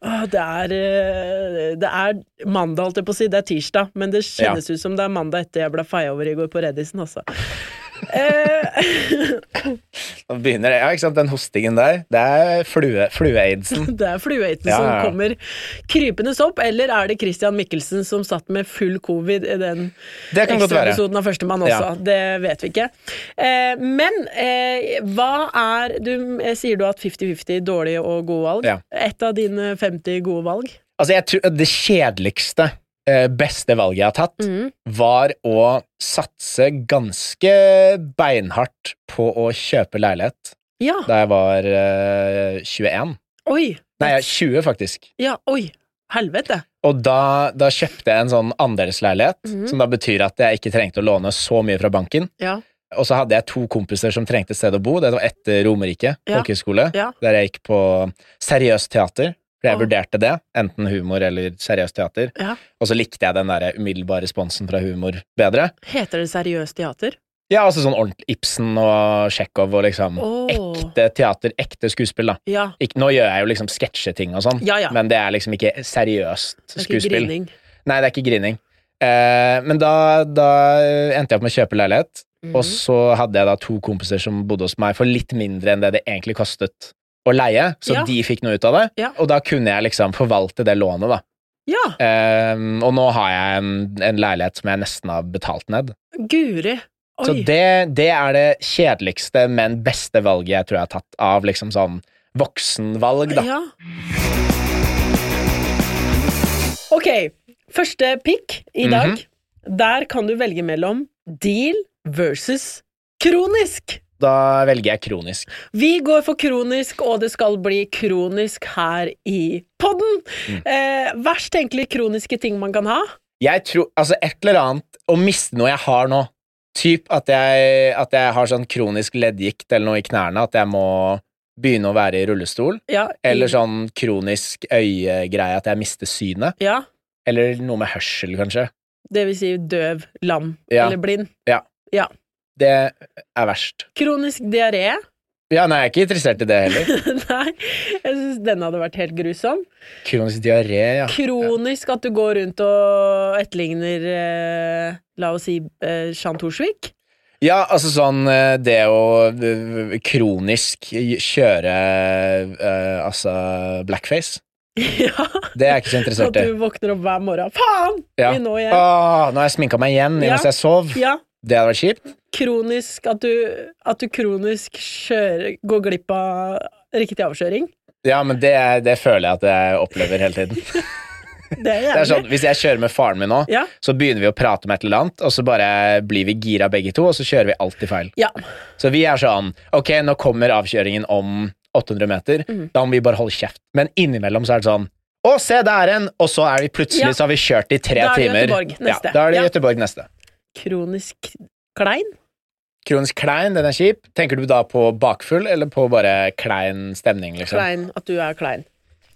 Speaker 2: Åh, Ah, det, er, eh, det er mandag, holdt jeg på å si. Det er tirsdag, men det kjennes ut som det er mandag etter jeg ble feia over i går på Reddisen, altså. Eh,
Speaker 3: Nå begynner det. Ja, ikke sant? Den hostingen der, det er flue- flue-aidsen.
Speaker 2: [laughs] det er flueiten
Speaker 3: Ja,
Speaker 2: som
Speaker 3: ja, ja.
Speaker 2: kommer krypende opp, eller er det Christian Mikkelsen som satt med full covid i den
Speaker 3: det kan godt være.
Speaker 2: ekstraepisoden av Førstemann også?
Speaker 3: Ja.
Speaker 2: Det vet vi ikke. Eh, men eh, hva er Du eh, sier du at 50-50 dårlige og gode valg.
Speaker 3: Ja.
Speaker 2: Et av dine 50 gode valg?
Speaker 3: Altså, jeg tror det kjedeligste, eh, beste valget jeg har tatt, var å satse ganske beinhardt på å kjøpe leilighet
Speaker 2: Ja.
Speaker 3: da jeg var eh, 21.
Speaker 2: Oi!
Speaker 3: Nei, jeg er 20 faktisk.
Speaker 2: Ja, oi, helvete.
Speaker 3: Og da, da kjøpte jeg en sånn andelsleilighet, som da betyr at jeg ikke trengte å låne så mye fra banken.
Speaker 2: Ja.
Speaker 3: Og så hadde jeg to kompiser som trengte et sted å bo. Det var etter Romerike
Speaker 2: Ja.
Speaker 3: folkehøgskole,
Speaker 2: Ja.
Speaker 3: der jeg gikk på seriøst teater. For jeg
Speaker 2: Å.
Speaker 3: vurderte det, enten humor eller seriøst teater.
Speaker 2: Ja.
Speaker 3: Og så likte jeg den der umiddelbare responsen fra humor bedre.
Speaker 2: Heter det seriøst teater?
Speaker 3: Ja, altså sånn ordentlig Ibsen og Tsjekhov og liksom
Speaker 2: Å.
Speaker 3: ekte teater, ekte skuespill, da.
Speaker 2: Ja.
Speaker 3: Ikke, nå gjør jeg jo liksom sketsjeting og sånn,
Speaker 2: Ja, ja.
Speaker 3: men det er liksom ikke seriøst
Speaker 2: Det er ikke
Speaker 3: skuespill.
Speaker 2: grining.
Speaker 3: Nei, det er ikke grining. Eh, men da, da endte jeg opp med å kjøpe leilighet,
Speaker 2: Mhm.
Speaker 3: og så hadde jeg da to kompiser som bodde hos meg for litt mindre enn det det egentlig kostet å leie, så
Speaker 2: Ja.
Speaker 3: de fikk noe ut av det,
Speaker 2: Ja.
Speaker 3: og da kunne jeg liksom forvalte det lånet, da.
Speaker 2: Ja,
Speaker 3: Eh, og nå har jeg en, en leilighet som jeg nesten har betalt ned.
Speaker 2: guri. Oi.
Speaker 3: Så det, det er det kjedeligste, men beste valget jeg tror jeg har tatt av liksom sånn voksenvalg, da.
Speaker 2: Ja. Ok, første pick i dag.
Speaker 3: Mhm.
Speaker 2: Der kan du velge mellom deal versus kronisk.
Speaker 3: Da velger jeg kronisk.
Speaker 2: Vi går for kronisk, og det skal bli kronisk her i podden.
Speaker 3: Mm.
Speaker 2: Eh, verst tenkelig kroniske ting man kan ha.
Speaker 3: Jeg tror, altså et eller annet Å miste noe jeg har nå Typ at jeg, at jeg har sånn kronisk leddgikt Eller noe i knærne At jeg må begynne å være i rullestol
Speaker 2: Ja, i-
Speaker 3: Eller sånn kronisk øyegreie At jeg mister synet
Speaker 2: Ja.
Speaker 3: Eller noe med hørsel kanskje
Speaker 2: Det vil si døv, lam
Speaker 3: Ja.
Speaker 2: eller blind.
Speaker 3: Det er verst
Speaker 2: Kronisk diaré. [laughs]
Speaker 3: Ja, nei, jeg er ikke interessert i det heller
Speaker 2: Nei, jeg syns denne hadde vært helt grusom.
Speaker 3: Kronisk diaré, ja
Speaker 2: Kronisk at du går rundt og etterligner eh, La oss si eh, Jean Thorsvik. [laughs]
Speaker 3: Ja, altså sånn eh, Det å eh, kronisk kjøre eh, Altså blackface
Speaker 2: ja,
Speaker 3: Det er jeg ikke så
Speaker 2: at
Speaker 3: interessert i
Speaker 2: du våkner opp hver morgen. Faen!
Speaker 3: Ja.
Speaker 2: Vi Nå igjen.
Speaker 3: Åh, nå har jeg sminka meg igjen
Speaker 2: Ja.
Speaker 3: mens jeg sov.
Speaker 2: Ja.
Speaker 3: Det hadde vært kjipt.
Speaker 2: Kronisk at du, at du kronisk kjører, går glipp av riktig avkjøring.
Speaker 3: Ja, men det, det føler jeg at jeg opplever hele
Speaker 2: [laughs]
Speaker 3: tiden.
Speaker 2: Det er
Speaker 3: Det
Speaker 2: jævlig.
Speaker 3: er sånn, Hvis jeg kjører med faren min nå,
Speaker 2: Ja.
Speaker 3: så begynner vi å prate om et eller annet, og så bare blir vi gira begge to, og så kjører vi alltid feil.
Speaker 2: Ja.
Speaker 3: Så vi er sånn Ok, nå kommer avkjøringen om 800 meter.
Speaker 2: Mm.
Speaker 3: Da må vi bare holde kjeft. Men innimellom så er det sånn Å, se, der er en! Og så er vi plutselig
Speaker 2: Ja.
Speaker 3: så har vi kjørt i tre
Speaker 2: Da er det
Speaker 3: timer.
Speaker 2: Göteborg neste.
Speaker 3: Ja, da er det
Speaker 2: Ja.
Speaker 3: Göteborg neste.
Speaker 2: Kronisk klein.
Speaker 3: Kronisk klein, den er kjip. Tenker du da på bakfull, eller på bare klein stemning, liksom?
Speaker 2: Klein. At du er klein.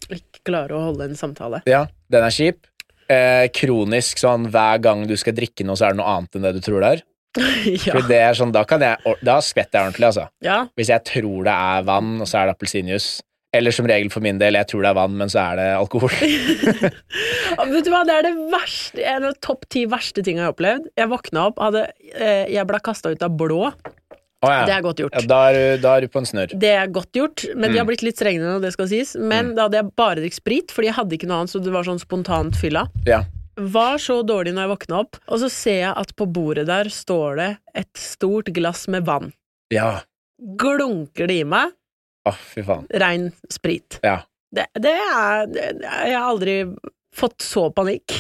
Speaker 2: Ikke klarer å holde en samtale. [laughs]
Speaker 3: Ja, den er kjip. Eh, kronisk sånn hver gang du skal drikke noe, så er det noe annet enn det du tror det er.
Speaker 2: ja.
Speaker 3: For det er sånn, da, kan jeg, or- da skvetter jeg ordentlig, altså.
Speaker 2: ja.
Speaker 3: Hvis jeg tror det er vann, og så er det appelsinjuice. Eller som regel for min del, jeg tror det er vann, men så er det alkohol.
Speaker 2: [laughs] Ja, Vet du hva, Det er det verste, en av topp ti verste ting jeg har opplevd. Jeg våkna opp, hadde, eh, jeg ble kasta ut av blå.
Speaker 3: Å ja.
Speaker 2: Det er godt gjort.
Speaker 3: Ja, da, er du, da er du på en snurr.
Speaker 2: Det er godt gjort, men de har blitt litt strengere nå, det skal sies. Men da hadde jeg bare drukket sprit, fordi jeg hadde ikke noe annet, så det var sånn spontant fylla.
Speaker 3: Ja.
Speaker 2: Var så dårlig når jeg våkna opp, og så ser jeg at på bordet der står det et stort glass med vann.
Speaker 3: ja.
Speaker 2: Glunker det i meg?
Speaker 3: Å, fy faen.
Speaker 2: Rein sprit.
Speaker 3: Ja.
Speaker 2: Det, det er det, Jeg har aldri fått så panikk.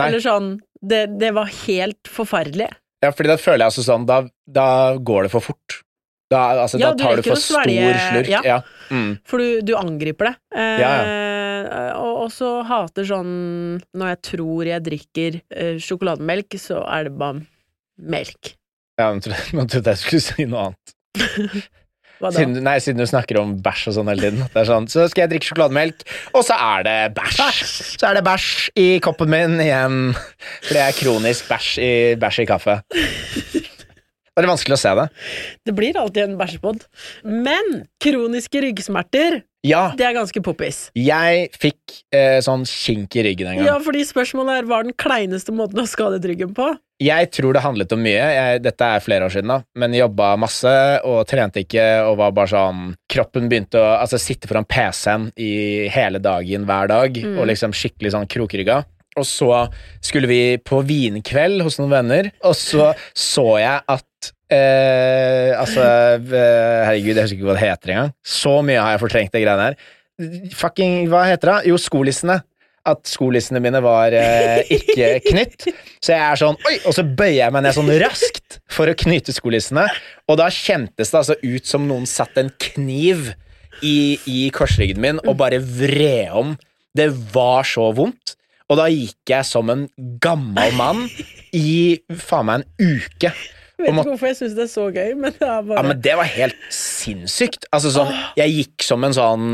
Speaker 3: Nei.
Speaker 2: Eller sånn Det, det var helt forferdelig.
Speaker 3: Ja, fordi da føler jeg også sånn Da, da går det for fort. Da, altså,
Speaker 2: Ja, du
Speaker 3: da tar
Speaker 2: rekker
Speaker 3: du for
Speaker 2: å svelge-
Speaker 3: stor slurk.
Speaker 2: ja.
Speaker 3: Ja. Mm.
Speaker 2: For du, du angriper det. Eh,
Speaker 3: Ja,
Speaker 2: Og, og så hater sånn Når jeg tror jeg drikker eh, sjokolademelk, så er det bare melk.
Speaker 3: ja nå trodde nå trodde jeg skulle si noe annet.
Speaker 2: Hva da?
Speaker 3: Siden, du- nei, siden du snakker om bæsj og sånn hele tiden. Det er sånn, så skal jeg drikke sjokolademelk, og så er det bæsj. Så er det bæsj i koppen min igjen. For det er kronisk bæsj i, bæsj i kaffe. Det er vanskelig å se det.
Speaker 2: Det blir alltid en bæsjepod. Men kroniske ryggsmerter,
Speaker 3: Ja,
Speaker 2: det er ganske poppis.
Speaker 3: jeg fikk eh, sånn kink i ryggen en gang.
Speaker 2: Ja, fordi spørsmålet er hva er den kleineste måten å skade ryggen på?
Speaker 3: Jeg tror det handlet om mye. Jeg, dette er flere år siden, da. Men jobba masse og trente ikke og var bare sånn Kroppen begynte å altså, sitte foran PC-en i hele dagen hver dag og liksom skikkelig sånn krokrygga. Og så skulle vi på vinkveld hos noen venner, og så så jeg at eh, Altså, eh, herregud, jeg husker ikke hva det heter engang. Så mye har jeg fortrengt det greiene her. Fucking, hva heter det? Jo, skolissene at skolissene mine var eh, ikke knytt. Så jeg er sånn, oi, og så bøyer jeg meg ned sånn raskt for å knyte skolissene. Og da kjentes det altså ut som noen satt en kniv i, i korsryggen min og bare vred om. Det var så vondt. Og da gikk jeg som en gammel mann i faen meg en uke.
Speaker 2: Jeg vet
Speaker 3: Og må-
Speaker 2: ikke hvorfor jeg syns det er så gøy, men det er
Speaker 3: Ja,
Speaker 2: bare
Speaker 3: men det var helt sinnssykt. Altså sånn, jeg gikk som en sånn,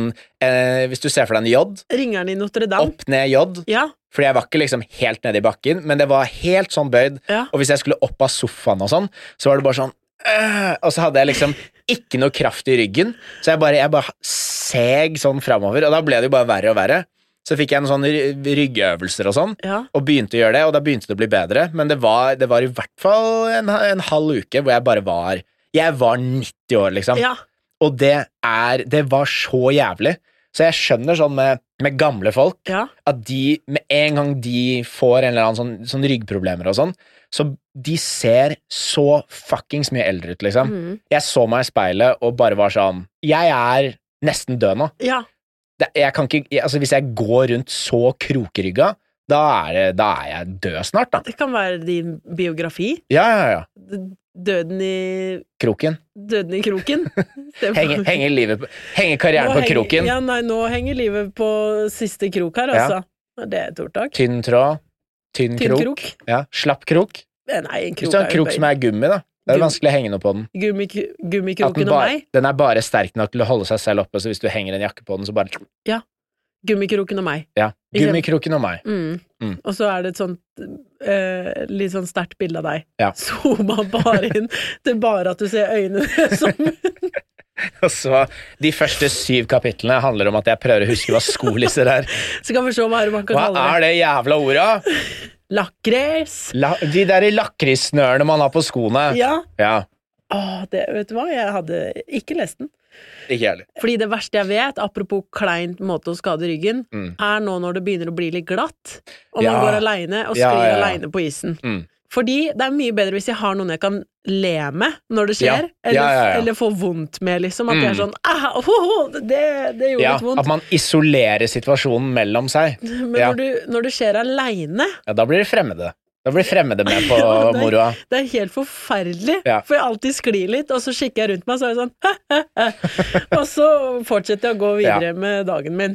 Speaker 3: eh, hvis du ser for deg en jod,
Speaker 2: Ringeren i Notre-Dame.
Speaker 3: opp ned jod,
Speaker 2: Ja.
Speaker 3: fordi jeg var ikke liksom helt nede i bakken, men det var helt sånn bøyd.
Speaker 2: Ja.
Speaker 3: Og hvis jeg skulle opp av sofaen og sånn, så var det bare sånn øh, Og så hadde jeg liksom ikke noe kraft i ryggen, så jeg bare, jeg bare seg sånn framover. Og da ble det jo bare verre og verre. Så fikk jeg noen sånne ry- ryggøvelser og sånn,
Speaker 2: Ja.
Speaker 3: og begynte å gjøre det, og da begynte det å bli bedre. Men det var, det var i hvert fall en, en halv uke hvor jeg bare var Jeg var 90 år, liksom.
Speaker 2: ja.
Speaker 3: Og det er Det var så jævlig. Så jeg skjønner sånn med, med gamle folk
Speaker 2: ja.
Speaker 3: at de, med en gang de får en eller annen sånn, sånn ryggproblemer og sånn, så de ser så fuckings mye eldre ut, liksom.
Speaker 2: Mm.
Speaker 3: Jeg så meg i speilet og bare var sånn Jeg er nesten død nå.
Speaker 2: ja.
Speaker 3: Det, jeg kan ikke, jeg, altså, hvis jeg går rundt så krokrygga, da er, det, da er jeg død snart, da.
Speaker 2: Det kan være din biografi.
Speaker 3: Ja, ja, ja.
Speaker 2: Døden i
Speaker 3: Kroken.
Speaker 2: Døden i
Speaker 3: [laughs]
Speaker 2: kroken. [laughs]
Speaker 3: Henge, henger livet på, henger karrieren på kroken.
Speaker 2: Ja, nei, nå henger livet på siste krok her, altså. Det er et ordtak.
Speaker 3: Tynn tråd. Tynn,
Speaker 2: Tynn
Speaker 3: krok.
Speaker 2: krok.
Speaker 3: Ja. Slapp krok.
Speaker 2: Eh, Nei, en
Speaker 3: Hvis
Speaker 2: krok
Speaker 3: du har en
Speaker 2: er jo
Speaker 3: krok som er gummi, da. Det er
Speaker 2: Gummi.
Speaker 3: vanskelig å henge noe på den.
Speaker 2: Gummi,
Speaker 3: At den,
Speaker 2: Gummikroken og
Speaker 3: bare,
Speaker 2: meg.
Speaker 3: den er bare sterk nok til å holde seg selv oppe, så hvis du henger en jakke på den, så bare
Speaker 2: Gummikroken og meg.
Speaker 3: ja.
Speaker 2: Ikke sant?
Speaker 3: Gummikroken og meg.
Speaker 2: Mm.
Speaker 3: Mm.
Speaker 2: Og så er det et sånt eh, litt sånn sterkt bilde av deg.
Speaker 3: Ja.
Speaker 2: Zooma bare
Speaker 3: [laughs]
Speaker 2: inn til bare at du ser øynene [laughs] som
Speaker 3: [laughs] Og så De første syv kapitlene handler om at jeg prøver å huske hva skolisser er.
Speaker 2: Så kan vi se hva er det man [laughs] kan
Speaker 3: Hva
Speaker 2: kalle det.
Speaker 3: er det jævla orda?
Speaker 2: Lakris.
Speaker 3: La, de derre lakrissnørene man har på skoene.
Speaker 2: Ja.
Speaker 3: Ja,
Speaker 2: Åh, det, vet du hva, jeg hadde ikke lest den.
Speaker 3: Ikke jeg heller.
Speaker 2: Fordi det verste jeg vet, apropos kleint måte å skade ryggen,
Speaker 3: Mm.
Speaker 2: er nå når det begynner å bli litt glatt, og man
Speaker 3: Ja.
Speaker 2: går aleine og
Speaker 3: Ja,
Speaker 2: sklir
Speaker 3: ja, ja.
Speaker 2: aleine på isen.
Speaker 3: Mm.
Speaker 2: Fordi det er mye bedre hvis jeg har noen jeg kan le med når det skjer,
Speaker 3: Ja. Ja,
Speaker 2: Eller,
Speaker 3: ja, ja.
Speaker 2: eller få vondt med, liksom. At
Speaker 3: Mm.
Speaker 2: jeg er sånn ah, ho, ho, det, det gjorde
Speaker 3: Ja,
Speaker 2: litt vondt.
Speaker 3: at man isolerer situasjonen mellom seg.
Speaker 2: [laughs] Men
Speaker 3: ja.
Speaker 2: når, du, når det skjer aleine, [laughs]
Speaker 3: Ja, da blir det fremmede. Da blir fremmede med på
Speaker 2: Ja, det-
Speaker 3: moroa.
Speaker 2: det er helt forferdelig.
Speaker 3: Ja.
Speaker 2: For jeg alltid sklir litt, og så kikker jeg rundt meg, og så er jeg sånn [laughs] Og så fortsetter jeg å gå videre med dagen min.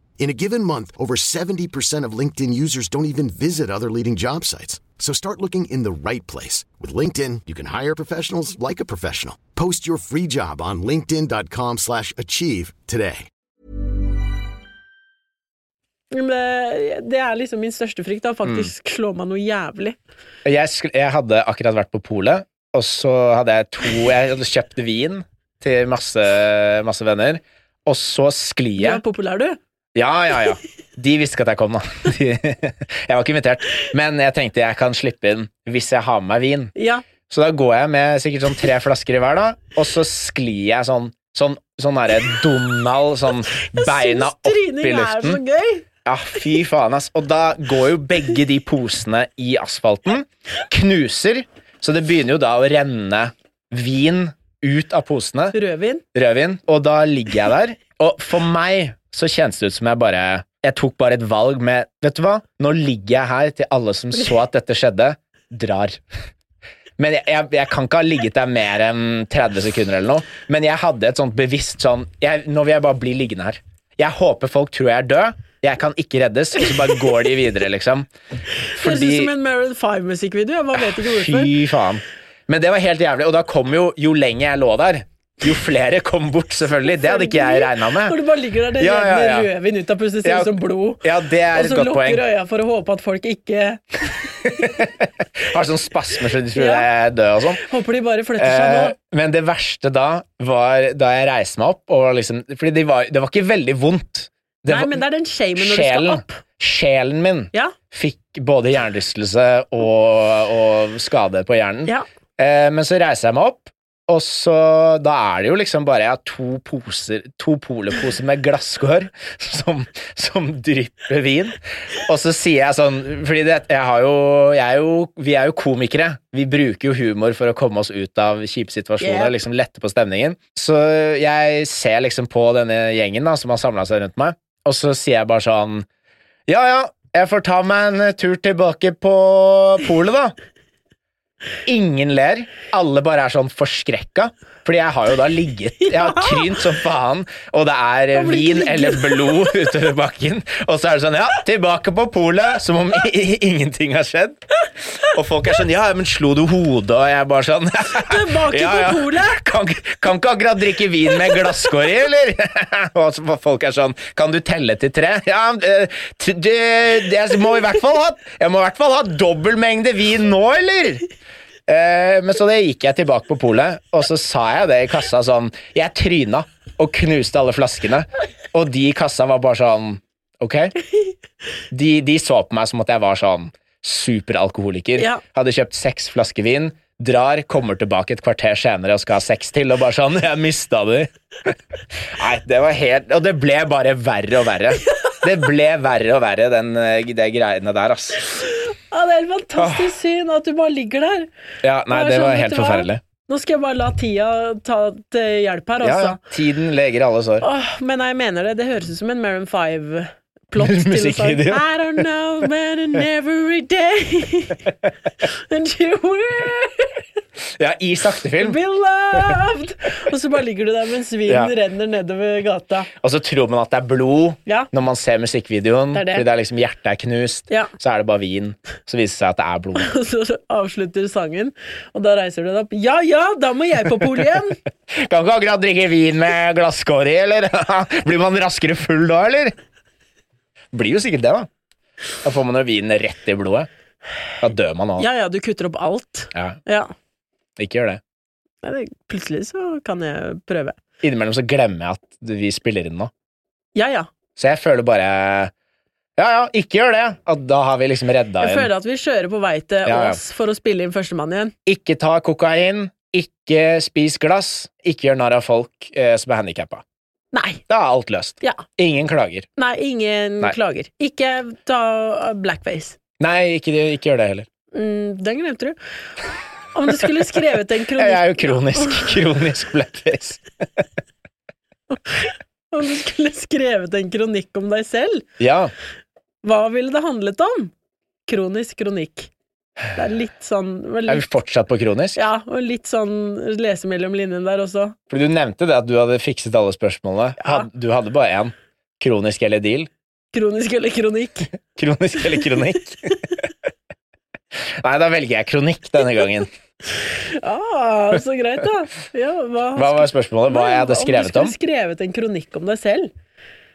Speaker 6: In a given month, over 70% of LinkedIn users don't even visit other leading job sites. So start looking in the right place. With LinkedIn, you can hire professionals like a professional. Post your free job on linkedin.com slash achieve today.
Speaker 2: Men Det, det er liksom min største frykt. Da. Faktisk
Speaker 3: Mm.
Speaker 2: slå meg noe jævlig.
Speaker 3: Jeg, skulle, jeg hadde akkurat vært på polet, og så hadde jeg to Jeg hadde kjøpt vin til masse, masse venner, og så sklir
Speaker 2: Du
Speaker 3: jeg
Speaker 2: er populær, du.
Speaker 3: Ja, ja, ja. De visste ikke at jeg kom, da. [laughs] De, jeg var ikke invitert. Men jeg tenkte jeg kan slippe inn hvis jeg har med meg vin.
Speaker 2: Ja.
Speaker 3: Så da går jeg med sikkert sånn tre flasker i hver, da, og så sklir jeg sånn Sånn, sånn derre Donald, sånn
Speaker 2: Syns
Speaker 3: beina opp i
Speaker 2: trining er så
Speaker 3: luften.
Speaker 2: gøy!
Speaker 3: Ja, fy faen, ass. Og da går jo begge de posene i asfalten, knuser, så det begynner jo da å renne vin ut av posene
Speaker 2: Rødvin.
Speaker 3: rødvin, og da ligger jeg der. Og for meg så kjennes det ut som jeg bare Jeg tok bare et valg med Vet du hva, nå ligger jeg her til alle som så at dette skjedde, drar. Men jeg, jeg, jeg kan ikke ha ligget der mer enn 30 sekunder eller noe. Men jeg hadde et sånt bevisst sånn jeg, Nå vil jeg bare bli liggende her. Jeg håper folk tror jeg er død. Jeg kan ikke reddes, og så bare går de videre, liksom.
Speaker 2: Høres ut som en Maroon 5-musikkvideo. Jeg bare vet ikke hvorfor.
Speaker 3: Fy faen. Men det var helt jævlig, og da kom jo jo lenger jeg lå der, jo flere kom bort, selvfølgelig. Det hadde ikke jeg regna
Speaker 2: Når
Speaker 3: med.
Speaker 2: du bare ligger der, det
Speaker 3: Ja, ja,
Speaker 2: renner
Speaker 3: ja.
Speaker 2: rødvin ut av plutselig ser
Speaker 3: Ja.
Speaker 2: ut som blod.
Speaker 3: Ja, det er
Speaker 2: Og
Speaker 3: et
Speaker 2: så
Speaker 3: godt poeng.
Speaker 2: lukker øya for å håpe at folk ikke
Speaker 3: Har sånn spasmer så de tror
Speaker 2: Ja.
Speaker 3: jeg er død og sånn.
Speaker 2: Håper de bare flytter seg nå.
Speaker 3: Eh, men det verste da var da jeg reiste meg opp, og liksom Fordi det var, det var ikke veldig vondt. Det
Speaker 2: Nei,
Speaker 3: var-
Speaker 2: men det er den shamen når du skal
Speaker 3: sjelen,
Speaker 2: opp.
Speaker 3: sjelen min
Speaker 2: Ja,
Speaker 3: fikk både hjernerystelse og, og skade på hjernen.
Speaker 2: ja.
Speaker 3: Eh, men så reiser jeg meg opp, og så da er det jo liksom bare jeg har to poser, to poleposer med glasskår [laughs] som, som drypper vin. Og så sier jeg sånn, fordi det, jeg har jo, jeg er jo, vi er jo komikere. Vi bruker jo humor for å komme oss ut av kjipe situasjoner,
Speaker 2: Yeah.
Speaker 3: liksom lette på stemningen. Så jeg ser liksom på denne gjengen da, som har samla seg rundt meg, og så sier jeg bare sånn, ja, ja, jeg får ta meg en eh, tur tilbake på polet da. Ingen ler. Alle bare er sånn forskrekka. Fordi jeg har jo da ligget Jeg
Speaker 2: [laughs]
Speaker 3: har trynt som faen, og det er eh,
Speaker 2: Da blir det
Speaker 3: vin
Speaker 2: ligget.
Speaker 3: eller blod [laughs] utover bakken. Og så er det sånn Ja, tilbake på polet! Som om i- [laughs] i- ingenting har skjedd. Og folk er sånn Ja, men slo du hodet? Og jeg er bare sånn [laughs]
Speaker 2: Tilbake på polet!
Speaker 3: Kan, ikke- kan ikke akkurat drikke vin med glasskår i, eller? [laughs] Og så folk er sånn Kan du telle til tre? Ja, eh, t- det, det jeg må i hvert fall ha Jeg må i hvert fall ha dobbel mengde vin nå, eller? Eh, men så det gikk jeg tilbake på polet, og så sa jeg det i kassa sånn Jeg tryna og knuste alle flaskene, og de i kassa var bare sånn Ok? De, de så på meg som at jeg var sånn superalkoholiker.
Speaker 2: Ja.
Speaker 3: Hadde kjøpt seks flasker vin, drar, kommer tilbake et kvarter senere og skal ha seks til, og bare sånn [laughs] Jeg mista de. Nei, det var helt Og det ble bare verre
Speaker 2: [laughs]
Speaker 3: og verre. Det ble verre og verre, den, eh, de greiene der, ass.
Speaker 2: Ja, det er et fantastisk syn at du bare ligger der.
Speaker 3: Ja, nei,
Speaker 2: Og jeg
Speaker 3: det
Speaker 2: er
Speaker 3: var
Speaker 2: sånn,
Speaker 3: helt
Speaker 2: vet du hva?
Speaker 3: forferdelig.
Speaker 2: Nå skal jeg bare la tida ta til hjelp her,
Speaker 3: Ja,
Speaker 2: altså.
Speaker 3: ja. Tiden leger alle sår.
Speaker 2: Åh, men jeg mener det. Det høres ut som en Maroon 5 Plott
Speaker 3: [laughs]
Speaker 2: til en sang.
Speaker 3: Musikkvideo.
Speaker 2: I don't know, but in every day [laughs] And you will
Speaker 3: Ja, I saktefilm.
Speaker 2: be loved Og så bare ligger du der mens vinen
Speaker 3: Ja.
Speaker 2: renner nedover gata. [laughs]
Speaker 3: Og så tror man at det er blod
Speaker 2: Ja.
Speaker 3: når man ser musikkvideoen.
Speaker 2: Det er det.
Speaker 3: Fordi det er liksom hjertet er knust,
Speaker 2: Ja.
Speaker 3: så er det bare vin. Så viser det seg at det er blod. [laughs]
Speaker 2: Og så avslutter sangen, og da reiser du deg opp. Ja ja, da må jeg på polet igjen!
Speaker 3: Kan ikke akkurat drikke vin med glasskår i, eller? [laughs] Blir man raskere full da, eller? Blir jo sikkert det, da. Da får man jo vinen rett i blodet. Da dør man òg.
Speaker 2: Ja ja, du kutter opp alt.
Speaker 3: Ja,
Speaker 2: Ja.
Speaker 3: ikke gjør det.
Speaker 2: Nei, det- Plutselig så kan jeg prøve.
Speaker 3: Innimellom så glemmer jeg at vi spiller inn nå.
Speaker 2: Ja ja.
Speaker 3: Så jeg føler bare Ja, ja, ikke gjør det! At da har vi liksom redda
Speaker 2: Jeg
Speaker 3: en
Speaker 2: føler at vi kjører på vei til
Speaker 3: Ja, ja.
Speaker 2: Ås for å spille inn Førstemann igjen.
Speaker 3: Ikke ta kokain, ikke spis glass, ikke gjør narr av folk eh, som er handikappa.
Speaker 2: Nei!
Speaker 3: Da er alt løst.
Speaker 2: Ja.
Speaker 3: Ingen klager.
Speaker 2: Nei, ingen
Speaker 3: Nei.
Speaker 2: klager. Ikke ta blackface.
Speaker 3: Nei, ikke, ikke gjør det heller.
Speaker 2: Mm, den glemte du. Om du skulle skrevet en
Speaker 3: [laughs] Jeg er
Speaker 2: kronikk
Speaker 3: jo kronisk, [laughs] kronisk blackface.
Speaker 2: [laughs] Om du skulle skrevet en kronikk om deg selv,
Speaker 3: Ja.
Speaker 2: hva ville det handlet om? Kronisk kronikk. Det er litt sånn vel,
Speaker 3: Er vi fortsatt på kronisk?
Speaker 2: Ja, og litt sånn lese mellom linjene der også.
Speaker 3: Fordi du nevnte det at du hadde fikset alle spørsmålene. Had, du hadde bare én. Kronisk eller deal?
Speaker 2: Kronisk eller kronikk.
Speaker 3: [laughs] Kronisk eller kronikk? [laughs] Nei, da velger jeg kronikk denne gangen.
Speaker 2: Ah, så greit, da. Ja, hva,
Speaker 3: Hva var spørsmålet? Hva jeg hadde skrevet
Speaker 2: Om du
Speaker 3: om?
Speaker 2: skulle skrevet en kronikk om deg selv,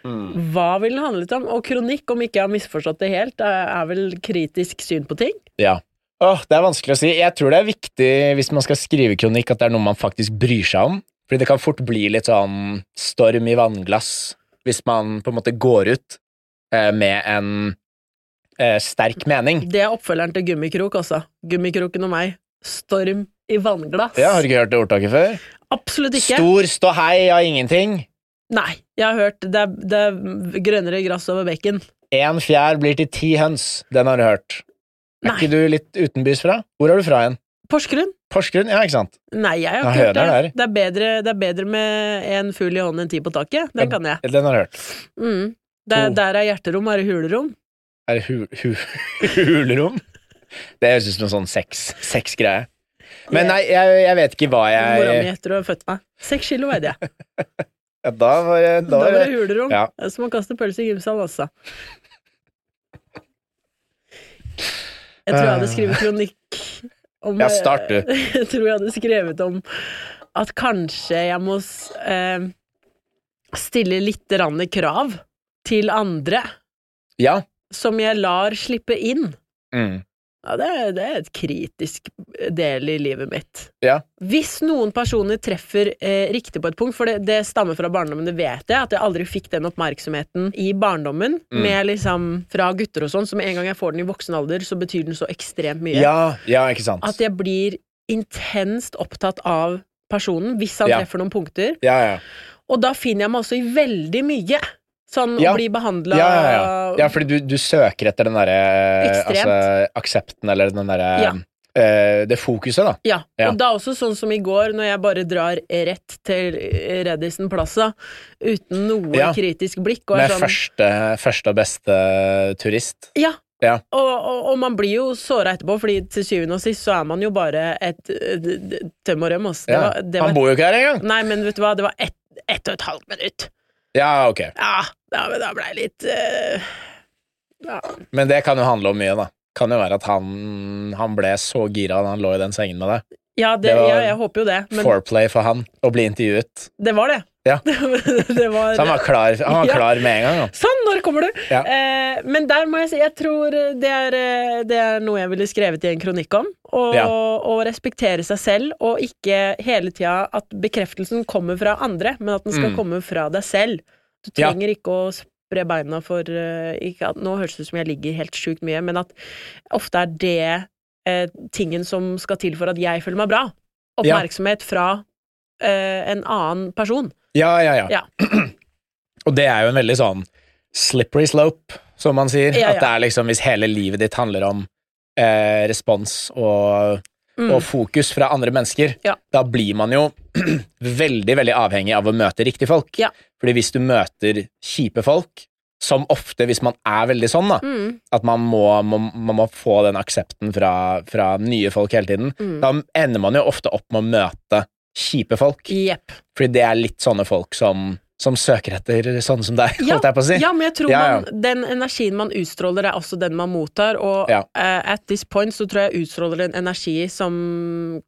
Speaker 2: Hva ville den handlet om? Og kronikk, om ikke jeg har misforstått det helt, er er vel kritisk syn på ting.
Speaker 3: Ja. Åh, det er vanskelig å si. Jeg tror det er viktig hvis man skal skrive kronikk, at det er noe man faktisk bryr seg om. Fordi det kan fort bli litt sånn storm i vannglass hvis man på en måte går ut eh, med en eh, sterk mening.
Speaker 2: Det er oppfølgeren til Gummikrok også. Gummikroken og meg. Storm i vannglass.
Speaker 3: Ja, har du ikke hørt det ordtaket før?
Speaker 2: Absolutt ikke.
Speaker 3: Stor ståhei av ingenting.
Speaker 2: Nei, jeg har hørt det er, det er grønnere gress over bekken.
Speaker 3: Én fjær blir til ti høns. Den har du hørt. Er
Speaker 2: Nei.
Speaker 3: ikke du litt utenbys fra? Hvor er du fra igjen?
Speaker 2: Porsgrunn?
Speaker 3: Porsgrunn? Ja, ikke sant?
Speaker 2: Nei, jeg har
Speaker 3: Nei,
Speaker 2: ikke hørt
Speaker 3: høner
Speaker 2: det. Det er, bedre, det er bedre med en fugl i hånden enn ti på taket. Den kan jeg.
Speaker 3: Den har du hørt.
Speaker 2: Mm. Der,
Speaker 3: To.
Speaker 2: der er hjerterom, er det hulrom.
Speaker 3: Er det hu hu hulrom? Det høres ut som en sånn sex- sex-greie. Men nei, jeg, jeg vet ikke hva
Speaker 2: Mora mi
Speaker 3: jeg
Speaker 2: etter å ha født meg. Seks kilo veide jeg.
Speaker 3: Ja, Da var det
Speaker 2: Da var det
Speaker 3: det-
Speaker 2: hulrom.
Speaker 3: Ja.
Speaker 2: Det er Som å kaste pølse i gymsalen, altså. Jeg tror jeg hadde skrevet kronikk om
Speaker 3: Eh. Ja, start, du.
Speaker 2: [laughs] Jeg tror jeg hadde skrevet om at kanskje jeg må s- eh, stille litt rann krav til andre
Speaker 3: Ja.
Speaker 2: som jeg lar slippe inn.
Speaker 3: Mm.
Speaker 2: Ja, det, er- det er et kritisk del i livet mitt.
Speaker 3: Ja.
Speaker 2: Hvis noen personer treffer eh, riktig på et punkt, for det, det stammer fra barndommen, det vet jeg, at jeg aldri fikk den oppmerksomheten i barndommen
Speaker 3: Mm.
Speaker 2: med liksom fra gutter og sånn, så med en gang jeg får den i voksen alder, så betyr den så ekstremt mye.
Speaker 3: ja. Ja, ikke sant.
Speaker 2: At jeg blir intenst opptatt av personen hvis han
Speaker 3: Ja.
Speaker 2: treffer noen punkter.
Speaker 3: Ja, ja.
Speaker 2: Og da finner jeg meg også i veldig mye. Sånn
Speaker 3: Ja.
Speaker 2: å bli behandla
Speaker 3: Ja, ja, ja. ja fordi du, du søker etter den derre
Speaker 2: Ekstremt.
Speaker 3: altså, aksepten, eller den derre
Speaker 2: Ja.
Speaker 3: eh, Det fokuset, da.
Speaker 2: Ja,
Speaker 3: Ja.
Speaker 2: og da også sånn som i går, når jeg bare drar rett til Redison Plaza uten noe
Speaker 3: Ja.
Speaker 2: kritisk blikk. Og
Speaker 3: Med
Speaker 2: er sånn,
Speaker 3: første, første og beste turist.
Speaker 2: ja,
Speaker 3: Ja.
Speaker 2: og, og, og man blir jo såra etterpå, fordi til syvende og sist så er man jo bare et eh, d- d- tøm og røm. ass. Det
Speaker 3: ja.
Speaker 2: var, det var,
Speaker 3: Han bor jo ikke her engang!
Speaker 2: nei, men vet du hva, det var ett ett og et halvt minutt.
Speaker 3: Ja, ok.
Speaker 2: Ja, da, da blei jeg litt eh, ja.
Speaker 3: Men det kan jo handle om mye, da. Kan jo være at han, han ble så gira da han lå i den sengen med deg.
Speaker 2: Ja, det,
Speaker 3: Det var
Speaker 2: ja, jeg håper jo det, men
Speaker 3: Foreplay for han, å bli intervjuet.
Speaker 2: det var det. [laughs]
Speaker 3: Ja.
Speaker 2: det var,
Speaker 3: Så han var klar, han var
Speaker 2: Ja.
Speaker 3: klar med en gang. Da.
Speaker 2: Sånn, når kommer du?
Speaker 3: Ja.
Speaker 2: Eh, men der må jeg si, jeg tror eh, det er, eh, det er noe jeg ville skrevet i en kronikk om. Å
Speaker 3: Ja.
Speaker 2: å respektere seg selv, og ikke hele tida at bekreftelsen kommer fra andre, men at den skal
Speaker 3: Mm.
Speaker 2: komme fra deg selv. Du
Speaker 3: Ja.
Speaker 2: trenger ikke å spre beina for eh, ikke at, Nå høres det ut som jeg ligger helt sjukt mye, men at ofte er det eh, tingen som skal til for at jeg føler meg bra.
Speaker 3: Ja.
Speaker 2: Oppmerksomhet fra eh, en annen person.
Speaker 3: Ja, ja, ja,
Speaker 2: Ja.
Speaker 3: [clears throat] Og det er jo en veldig sånn slippery slope, som man sier.
Speaker 2: Ja, ja.
Speaker 3: At det er liksom hvis hele livet ditt handler om eh, respons og, og fokus fra andre mennesker,
Speaker 2: Mm. Ja.
Speaker 3: da blir man jo [clears throat] veldig, veldig avhengig av å møte riktige folk.
Speaker 2: Ja.
Speaker 3: Fordi hvis du møter kjipe folk, som ofte, hvis man er veldig sånn, da,
Speaker 2: Mm.
Speaker 3: at man må, man, man må få den aksepten fra, fra nye folk hele tiden,
Speaker 2: Mm.
Speaker 3: da ender man jo ofte opp med å møte kjipe folk.
Speaker 2: Jepp.
Speaker 3: Fordi det er litt sånne folk som, som søker etter sånne som deg, [laughs] holdt jeg på å si.
Speaker 2: Ja, men jeg tror
Speaker 3: Ja, ja.
Speaker 2: Man, den energien man utstråler, er også den man mottar, og
Speaker 3: Ja.
Speaker 2: eh, at this point så tror jeg utstråler en energi som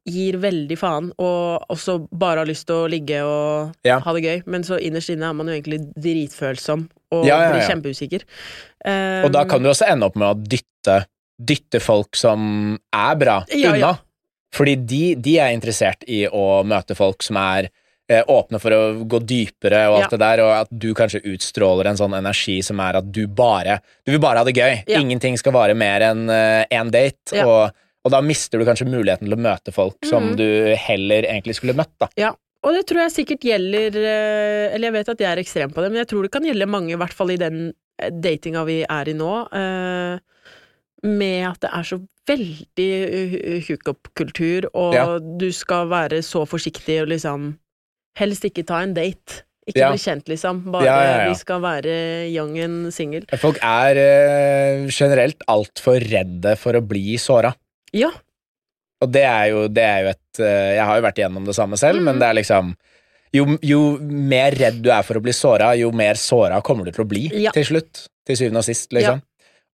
Speaker 2: gir veldig faen, og også bare har lyst til å ligge og
Speaker 3: Ja.
Speaker 2: ha det gøy, men så innerst inne er man jo egentlig dritfølsom og
Speaker 3: Ja, ja, ja.
Speaker 2: blir kjempeusikker. Eh,
Speaker 3: Og da kan du også ende opp med å dytte, dytte folk som er bra,
Speaker 2: Ja,
Speaker 3: unna.
Speaker 2: ja.
Speaker 3: Fordi de, de er interessert i å møte folk som er eh, åpne for å gå dypere og alt
Speaker 2: Ja.
Speaker 3: det der, og at du kanskje utstråler en sånn energi som er at du bare Du vil bare ha det gøy.
Speaker 2: Ja.
Speaker 3: Ingenting skal vare mer enn én date.
Speaker 2: Ja. Mm.
Speaker 3: Og, og da mister du kanskje muligheten til å møte folk som du heller egentlig skulle møtt, da.
Speaker 2: Ja, og det tror jeg sikkert gjelder eh, Eller jeg vet at jeg er ekstrem på det, men jeg tror det kan gjelde mange, i hvert fall i den eh, datinga vi er i nå, eh, med at det er så veldig hu- hookup-kultur, og
Speaker 3: Ja.
Speaker 2: du skal være så forsiktig og liksom Helst ikke ta en date. Ikke
Speaker 3: Ja.
Speaker 2: bli kjent, liksom. Bare
Speaker 3: Ja, ja, ja.
Speaker 2: vi skal være young and single.
Speaker 3: Folk er eh, generelt altfor redde for å bli såra.
Speaker 2: Ja.
Speaker 3: Og det er jo, det er jo et eh, Jeg har jo vært igjennom det samme selv, men det er liksom jo, jo mer redd du er for å bli såra, jo mer såra kommer du til å bli
Speaker 2: Ja.
Speaker 3: til slutt. Til syvende og sist, liksom.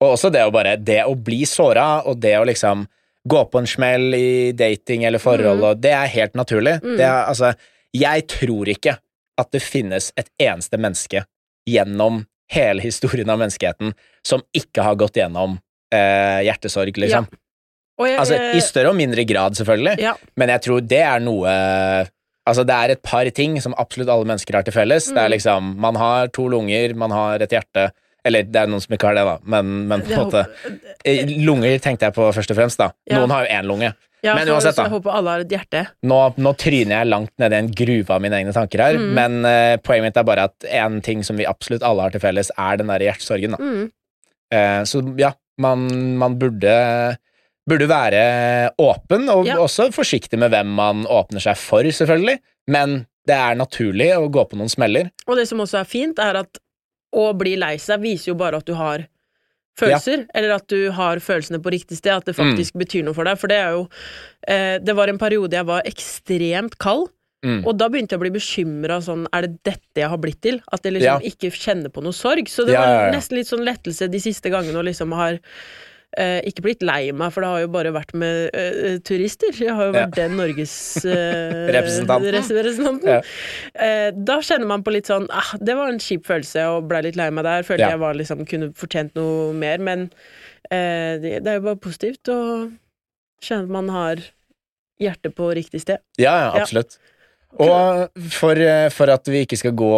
Speaker 3: Og også det å bare Det å bli såra, og det å liksom gå på en smell i dating eller forhold, og det er helt naturlig. Det er, altså, jeg tror ikke at det finnes et eneste menneske gjennom hele historien av menneskeheten som ikke har gått gjennom eh, hjertesorg, liksom.
Speaker 2: Og jeg,
Speaker 3: Altså, I
Speaker 2: eh,
Speaker 3: større og mindre grad, selvfølgelig,
Speaker 2: ja.
Speaker 3: men jeg tror det er noe Altså, det er et par ting som absolutt alle mennesker har til felles.
Speaker 2: Mm.
Speaker 3: Det er liksom, man har to lunger, man har et hjerte Eller det er noen som ikke har det, da, men, men på
Speaker 2: Det
Speaker 3: en måte Eh, Lunger tenkte jeg på først og fremst, da.
Speaker 2: Ja.
Speaker 3: Noen har jo én lunge.
Speaker 2: ja,
Speaker 3: Men
Speaker 2: for-
Speaker 3: uansett,
Speaker 2: så
Speaker 3: da.
Speaker 2: Jeg håper alle har et hjerte.
Speaker 3: Nå, nå tryner jeg langt ned i en gruve av mine egne tanker her, men eh, poenget mitt er bare at en ting som vi absolutt alle har til felles, er den derre hjertesorgen, da.
Speaker 5: Mm.
Speaker 3: Eh, så ja, man, man burde Burde være åpen, og
Speaker 2: Ja.
Speaker 3: også forsiktig med hvem man åpner seg for, selvfølgelig, men det er naturlig å gå på noen smeller.
Speaker 2: Og det som også er fint, er at å bli lei seg viser jo bare at du har følelser, eller at du har følelsene på riktig sted, at det
Speaker 3: Mm.
Speaker 2: faktisk betyr noe for deg. For det er jo eh, Det var en periode jeg var ekstremt kald,
Speaker 3: Mm.
Speaker 2: og da begynte jeg å bli bekymra sånn Er det dette jeg har blitt til? At jeg
Speaker 3: Ja.
Speaker 2: liksom ikke kjenner på noe sorg. Så det
Speaker 3: Ja, ja,
Speaker 2: var
Speaker 3: ja.
Speaker 2: nesten litt sånn lettelse de siste gangene og liksom har Eh, ikke blitt lei meg, for det har jo bare vært med eh, turister. Jeg har jo
Speaker 3: Ja.
Speaker 2: vært den Norges
Speaker 3: [laughs]
Speaker 2: eh,
Speaker 3: Representanten.
Speaker 2: res- representanten. Eh, da kjenner man på litt sånn ah, Det var en kjip følelse, og blei litt lei meg der. Følte
Speaker 3: Ja.
Speaker 2: jeg var liksom kunne fortjent noe mer, men eh, det, det er jo bare positivt å kjenne at man har hjertet på riktig sted.
Speaker 3: Ja, ja,
Speaker 2: Ja.
Speaker 3: absolutt. Og for, eh, for at vi ikke skal gå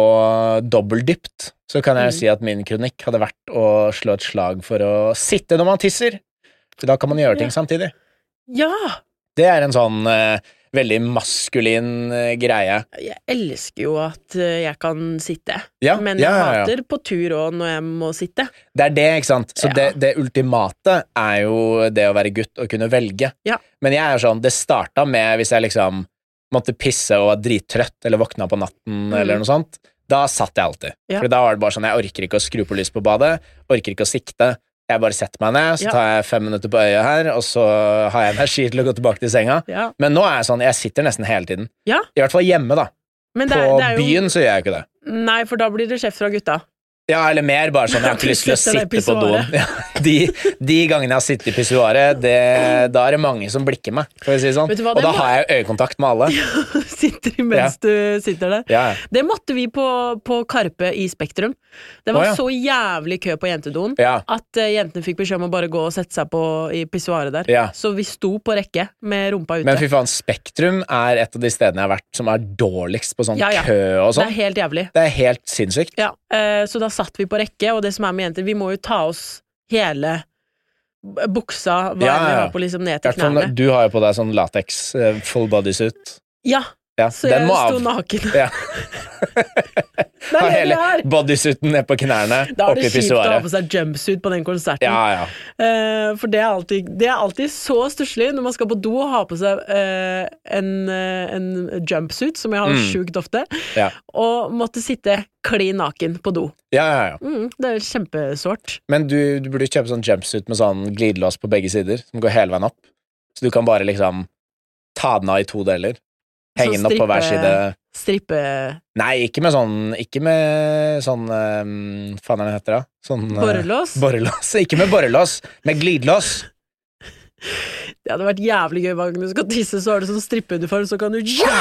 Speaker 3: dobbeldypt, så kan jeg
Speaker 2: Mm.
Speaker 3: si at min kronikk hadde vært å slå et slag for å sitte når man tisser. For da kan man gjøre ting samtidig.
Speaker 2: Ja!
Speaker 3: Det er en sånn eh, veldig maskulin eh, greie.
Speaker 2: Jeg elsker jo at eh, jeg kan sitte,
Speaker 3: Ja,
Speaker 2: men
Speaker 3: ja, ja,
Speaker 2: jeg
Speaker 3: ja.
Speaker 2: hater på tur òg når jeg må sitte.
Speaker 3: Det er det, ikke sant? Så
Speaker 2: Ja.
Speaker 3: det, det ultimate er jo det å være gutt og kunne velge.
Speaker 2: Ja.
Speaker 3: Men jeg er sånn, det starta med hvis jeg liksom måtte pisse og var drittrøtt eller våkna på natten eller noe sånt. Da satt jeg alltid.
Speaker 2: Mm. Ja.
Speaker 3: For da var det bare sånn, jeg orker ikke å skru på lyset på badet, orker ikke å sikte. Jeg bare setter meg ned, så
Speaker 2: Ja.
Speaker 3: tar jeg fem minutter på øyet her, og så har jeg energi til å gå tilbake til senga.
Speaker 2: Ja.
Speaker 3: Men nå er jeg sånn, jeg sitter nesten hele tiden.
Speaker 2: Ja.
Speaker 3: I hvert fall hjemme, da.
Speaker 2: Men
Speaker 3: På
Speaker 2: det er, det er jo
Speaker 3: byen så gjør jeg jo ikke det.
Speaker 2: Nei, for da blir det kjeft fra gutta. [laughs]
Speaker 3: Ja, eller mer bare sånn Jeg har ikke lyst til å
Speaker 2: Sitter
Speaker 3: sitte
Speaker 2: deg i
Speaker 3: på doen. [laughs] Ja, de, de gangene jeg har sittet i pissoaret, det- da er det mange som blikker meg. For å si det sånn.
Speaker 2: Vet du hva,
Speaker 3: Og
Speaker 2: det
Speaker 3: da
Speaker 2: må-
Speaker 3: har jeg jo øyekontakt med alle.
Speaker 2: [laughs] sitter mens du sitter der.
Speaker 3: Ja, ja.
Speaker 2: Det måtte vi på, på Karpe i Spektrum. Det var
Speaker 3: Å, ja.
Speaker 2: så jævlig kø på jentedoen
Speaker 3: Ja.
Speaker 2: at eh, jentene fikk beskjed om å bare gå og sette seg på i pissoaret der.
Speaker 3: Ja.
Speaker 2: Så vi sto på rekke med rumpa ute.
Speaker 3: Men fy faen, Spektrum er et av de stedene jeg har vært som er dårligst på sånn
Speaker 2: Ja, ja.
Speaker 3: kø
Speaker 2: det
Speaker 3: og
Speaker 2: er
Speaker 3: sånn.
Speaker 2: helt jævlig.
Speaker 3: Det er helt sinnssykt.
Speaker 2: Ja, eh, så da satt vi på rekke, og det som er med jenter, vi må jo ta oss hele b- buksa, hva
Speaker 3: Ja,
Speaker 2: enn vi
Speaker 3: ja.
Speaker 2: har på, liksom ned
Speaker 3: I
Speaker 2: til
Speaker 3: hvert fall
Speaker 2: knærne.
Speaker 3: når- Du har jo på deg sånn lateks eh, full bodysuit.
Speaker 2: Ja,
Speaker 3: Ja,
Speaker 2: så jeg
Speaker 3: den må
Speaker 2: sto
Speaker 3: av.
Speaker 2: naken.
Speaker 3: [laughs] Ja.
Speaker 2: Der
Speaker 3: Ha
Speaker 2: er [laughs]
Speaker 3: hele
Speaker 2: det her!
Speaker 3: bodysuiten ned på knærne,
Speaker 2: Da er
Speaker 3: opp i
Speaker 2: det kjipt å ha
Speaker 3: pissoaret.
Speaker 2: på seg jumpsuit på den konserten.
Speaker 3: Ja, ja.
Speaker 2: Eh, for det er alltid, det er alltid så stusslig når man skal på do og ha på seg eh, en, eh, en jumpsuit, som jeg har
Speaker 3: Mm.
Speaker 2: sjukt ofte,
Speaker 3: Ja,
Speaker 2: og måtte sitte klin naken på do.
Speaker 3: ja, ja. ja.
Speaker 2: Mm, det er kjempesårt.
Speaker 3: Men du, du burde kjøpe sånn jumpsuit med sånn glidelås på begge sider, som går hele veien opp. Så du kan bare liksom ta den av i to deler. Henge
Speaker 2: Sånn
Speaker 3: den opp på hver
Speaker 2: strippe-
Speaker 3: side.
Speaker 2: Strippe...
Speaker 3: Nei, ikke med sånn Ikke med sånn um, Faen, hva heter det? Sånn eh,
Speaker 2: Borrelås?
Speaker 3: Borrelås. Ikke med borrelås, med glidelås.
Speaker 2: Det hadde vært jævlig gøy hver gang du skal tisse, så har du sånn strippeuniform, så kan du ja!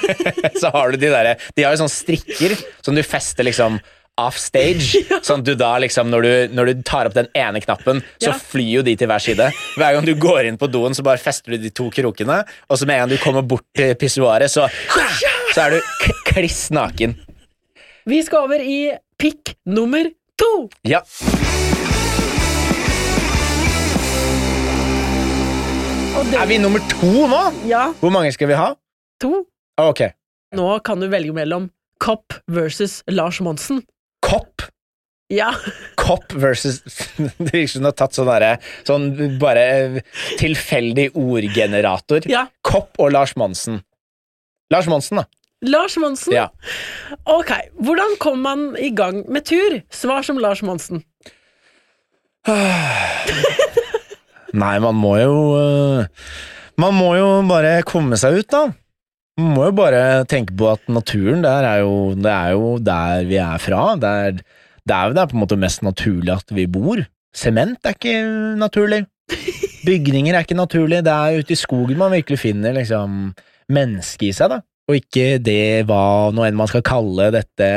Speaker 3: [laughs] Så har du de derre De har jo sånne strikker som du fester liksom
Speaker 2: [laughs]
Speaker 3: offstage. Sånn at du da liksom når du, når du tar opp den ene knappen, så
Speaker 2: Ja.
Speaker 3: flyr jo de til hver side. Hver gang du går inn på doen, så bare fester du de to krokene, og så med en gang du kommer bort til pissoaret, så så er du k kliss naken.
Speaker 2: Vi skal over i pikk nummer to!
Speaker 3: Ja.
Speaker 2: Og det
Speaker 3: Er vi nummer to nå?
Speaker 2: Ja,
Speaker 3: Hvor mange skal vi ha?
Speaker 2: to.
Speaker 3: Ok.
Speaker 2: Nå kan du velge mellom Kopp versus Lars Monsen.
Speaker 3: Kopp.
Speaker 2: Ja, [laughs]
Speaker 3: Kopp versus [laughs] Det virker som du har tatt sånn derre Sånn bare tilfeldig ordgenerator.
Speaker 2: ja.
Speaker 3: Kopp og Lars Monsen. Lars Monsen, da.
Speaker 2: Lars Monsen.
Speaker 3: Ja.
Speaker 2: Ok, Hvordan kom man i gang med tur? Svar som Lars Monsen.
Speaker 3: Nei, man må jo øh, Man må jo bare komme seg ut, da. Man må jo bare tenke på at naturen der er jo, det er jo der vi er fra. Det er, det er jo der på en måte mest naturlig at vi bor. Sement er ikke naturlig. Bygninger er ikke naturlig. Det er ute i skogen man virkelig finner liksom mennesket i seg, da. og ikke det hva nå enn man skal kalle dette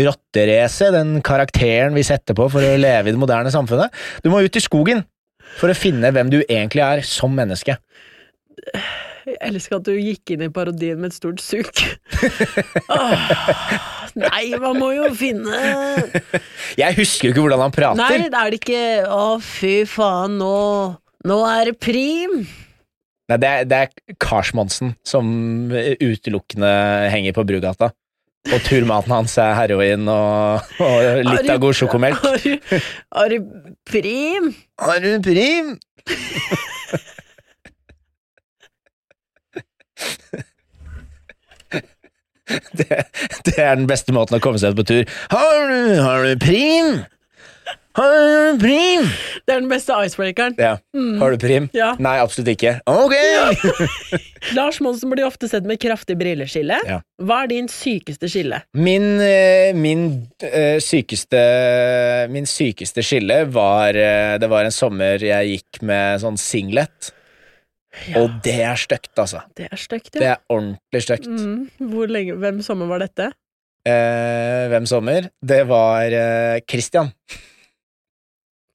Speaker 3: rotteracet, den karakteren vi setter på for å leve i det moderne samfunnet. Du må ut i skogen for å finne hvem du egentlig er som menneske.
Speaker 2: Jeg elsker at du gikk inn i parodien med et stort
Speaker 3: [laughs]
Speaker 2: suk. Åh, nei, man må jo finne
Speaker 3: Jeg husker jo ikke hvordan han prater.
Speaker 2: Nei, det er det ikke Å, fy faen, nå Nå er det prim!
Speaker 3: Nei, det, er, det er Karsmonsen som utelukkende henger på Brugata. Og turmaten hans er heroin og, og litt av god sjokomelk.
Speaker 2: Har du- Har du prim?
Speaker 3: Har du prim? [laughs] Det, det er den beste måten å komme seg ut på tur. Har du, har du prim? Har du prim?
Speaker 2: Det er den beste icebreakeren.
Speaker 3: Ja. Har du prim?
Speaker 2: Mm. Ja.
Speaker 3: Nei, absolutt ikke. Ok!
Speaker 2: Lars Monsen blir ofte sett med kraftig brilleskille.
Speaker 3: Ja.
Speaker 2: Hva er din sykeste skille?
Speaker 3: [laughs] Min, eh, min, eh, sykeste, min sykeste skille var eh, Det var en sommer jeg gikk med sånn singlet, og det er stygt, altså.
Speaker 2: Det er stygt,
Speaker 3: Det
Speaker 2: ja.
Speaker 3: er ordentlig stygt.
Speaker 2: Mm, hvor lenge, hvem sommer var dette?
Speaker 3: Eh, hvem sommer? Det var eh, Christian.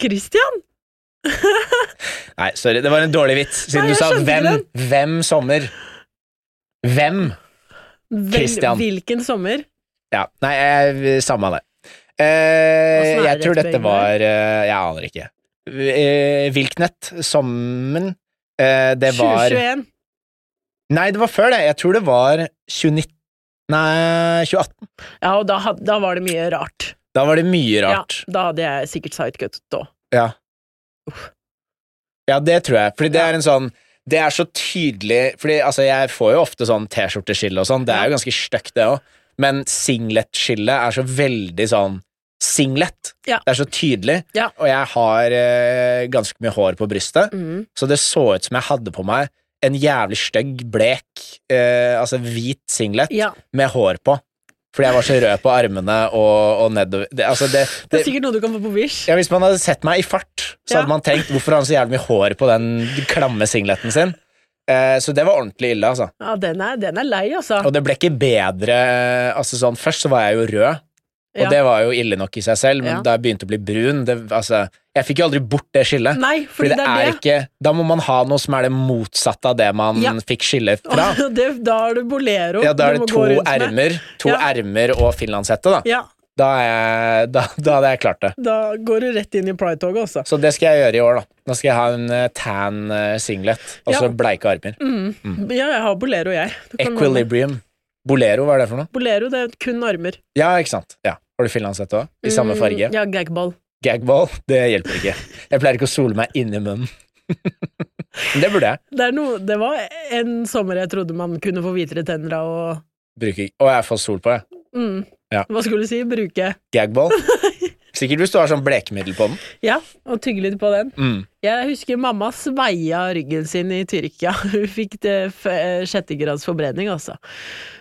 Speaker 2: Christian?
Speaker 3: Nei, sorry, det var en dårlig vits,
Speaker 2: Nei,
Speaker 3: siden du
Speaker 2: jeg
Speaker 3: sa
Speaker 2: skjønte
Speaker 3: hvem. Hvem sommer? Hvem?
Speaker 2: Vel-
Speaker 3: Christian.
Speaker 2: Hvilken sommer?
Speaker 3: Ja, nei, jeg, samme av det. Eh,
Speaker 2: Åssen er
Speaker 3: jeg
Speaker 2: det
Speaker 3: tror
Speaker 2: rett
Speaker 3: dette
Speaker 2: begge
Speaker 3: var eh, Jeg aner ikke. Eh, Vilknett, Sommen eh, Det var
Speaker 2: 2021.
Speaker 3: Nei, det var før det. Jeg tror det var 2019 Nei, 2018.
Speaker 2: Ja, og da, had- da var det mye rart.
Speaker 3: Da var det mye rart.
Speaker 2: Ja, da hadde jeg sikkert sidecut da.
Speaker 3: Ja. Ja, det tror jeg. Fordi det er en sånn Det er så tydelig Fordi altså, jeg får jo ofte sånn T-skjorteskille og sånn. Det er jo ganske stygt, det òg. Men singletskille er så veldig sånn Singlet.
Speaker 2: Ja.
Speaker 3: Det er så tydelig.
Speaker 2: Ja.
Speaker 3: Og jeg har eh, ganske mye hår på brystet,
Speaker 2: Mm.
Speaker 3: så det så ut som jeg hadde på meg en jævlig stygg, blek, eh, altså hvit singlet
Speaker 2: Ja.
Speaker 3: med hår på. Fordi jeg var så rød på armene og, og nedover det, altså det,
Speaker 2: Det er sikkert noe du kan få på Wish.
Speaker 3: ja, Hvis man hadde sett meg i fart, så
Speaker 2: Ja.
Speaker 3: hadde man tenkt hvorfor har han så jævlig mye hår på den klamme singleten sin. Eh, så det var ordentlig ille, altså.
Speaker 2: Ja, den er, den er lei, altså.
Speaker 3: Og det ble ikke bedre altså sånn, Først så var jeg jo rød, og
Speaker 2: Ja.
Speaker 3: det var jo ille nok i seg selv, men
Speaker 2: Ja.
Speaker 3: da jeg begynte å bli brun det, altså, Jeg fikk jo aldri bort det skillet.
Speaker 2: Nei, fordi det er det.
Speaker 3: ikke Da må man ha noe som er det motsatte av det man
Speaker 2: Ja.
Speaker 3: fikk skille fra.
Speaker 2: Og [laughs] det- da er du bolero.
Speaker 3: Ja, da er
Speaker 2: du må
Speaker 3: det to
Speaker 2: gå rundt med.
Speaker 3: ermer, to
Speaker 2: Ja.
Speaker 3: ermer og finlandshette, da.
Speaker 2: Ja,
Speaker 3: Da, er jeg, da. Da hadde jeg klart det.
Speaker 2: da går du rett inn i Pride-toget, altså.
Speaker 3: Så det skal jeg gjøre i år, da. Da skal jeg ha en eh, tan eh, singlet og så
Speaker 2: Ja. Mm,
Speaker 3: bleike armer.
Speaker 2: Ja, jeg har bolero, jeg. Du kan være med.
Speaker 3: Equilibrium. Bolero, hva er det for noe?
Speaker 2: Bolero, det er kun armer.
Speaker 3: Ja, ikke sant. Ja. Har du finlandshette òg? I samme farge?
Speaker 2: Mm, Ja, gagball.
Speaker 3: Gagball, det hjelper ikke. Jeg pleier ikke å sole meg inni munnen. [laughs] Men det burde jeg.
Speaker 2: Det, er noe, det var en sommer jeg trodde man kunne få hvitere tenner av å
Speaker 3: Bruker ikke Å, jeg får sol på, jeg.
Speaker 2: mm,
Speaker 3: Ja.
Speaker 2: Hva skulle du si? Bruke. [laughs]
Speaker 3: Gagball. Sikkert hvis du har sånn blekemiddel på den.
Speaker 2: Ja, og tygge litt på den.
Speaker 3: Mm.
Speaker 2: Jeg husker mamma sveia ryggen sin i Tyrkia. [laughs] Hun fikk det f- eh, sjettegrads forbrenning, altså.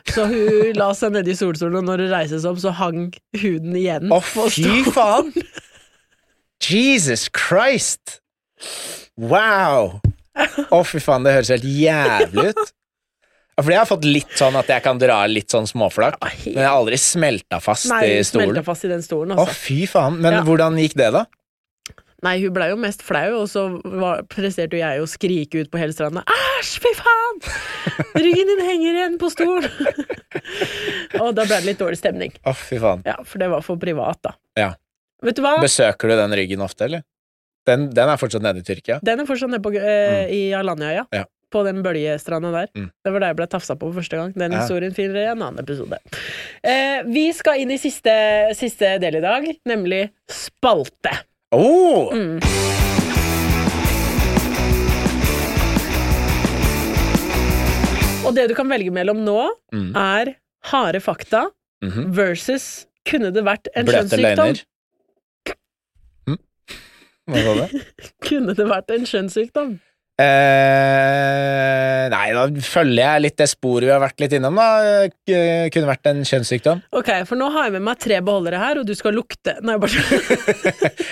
Speaker 2: Så hun la seg nedi solstolen, og når hun reiste seg opp, så hang huden igjen.
Speaker 3: Å,
Speaker 2: på
Speaker 3: fy
Speaker 2: stolen.
Speaker 3: faen! Jesus Christ! Wow! Å, fy faen, det høres helt jævlig ut. Ja, Fordi jeg har fått litt sånn at jeg kan dra litt sånn småflak, men jeg har aldri smelta fast
Speaker 2: Nei,
Speaker 3: i
Speaker 2: hun smelta
Speaker 3: stolen.
Speaker 2: fast i den stolen,
Speaker 3: Å,
Speaker 2: altså.
Speaker 3: fy faen. Men
Speaker 2: Ja.
Speaker 3: hvordan gikk det, da?
Speaker 2: Nei, hun blei jo mest flau, og så var, presterte jo jeg å skrike ut på hele stranda. Æsj, fy faen! Ryggen din henger igjen på stolen! [laughs] og da ble det litt dårlig stemning.
Speaker 3: Å, fy faen.
Speaker 2: Ja, for det var for privat, da.
Speaker 3: Ja.
Speaker 2: Vet du hva?
Speaker 3: Besøker du den ryggen ofte, eller? Den, den er fortsatt nede i Tyrkia.
Speaker 2: Den er fortsatt nede på, eh, i Alandiaøya.
Speaker 3: Mm. Ja.
Speaker 2: På den bøljestranda der.
Speaker 3: Mm.
Speaker 2: Det var der jeg ble tafsa på for første gang. Den
Speaker 3: Ja.
Speaker 2: historien finner dere i en annen episode. Eh, vi skal inn i siste, siste del i dag, nemlig spalte.
Speaker 3: Oh!
Speaker 2: Mm. Og det du kan velge mellom nå,
Speaker 3: Mm.
Speaker 2: er harde fakta
Speaker 3: Mhm.
Speaker 2: versus kunne det vært en
Speaker 3: Bløte
Speaker 2: kjønnssykdom?
Speaker 3: løgner. Hm? Hva sa du?
Speaker 2: Kunne det vært en kjønnssykdom?
Speaker 3: Eh, nei, da følger jeg litt det sporet vi har vært litt innom. da Eh, Kunne vært en kjønnssykdom.
Speaker 2: Ok, for nå har jeg med meg tre beholdere her, og du skal lukte Nei, bare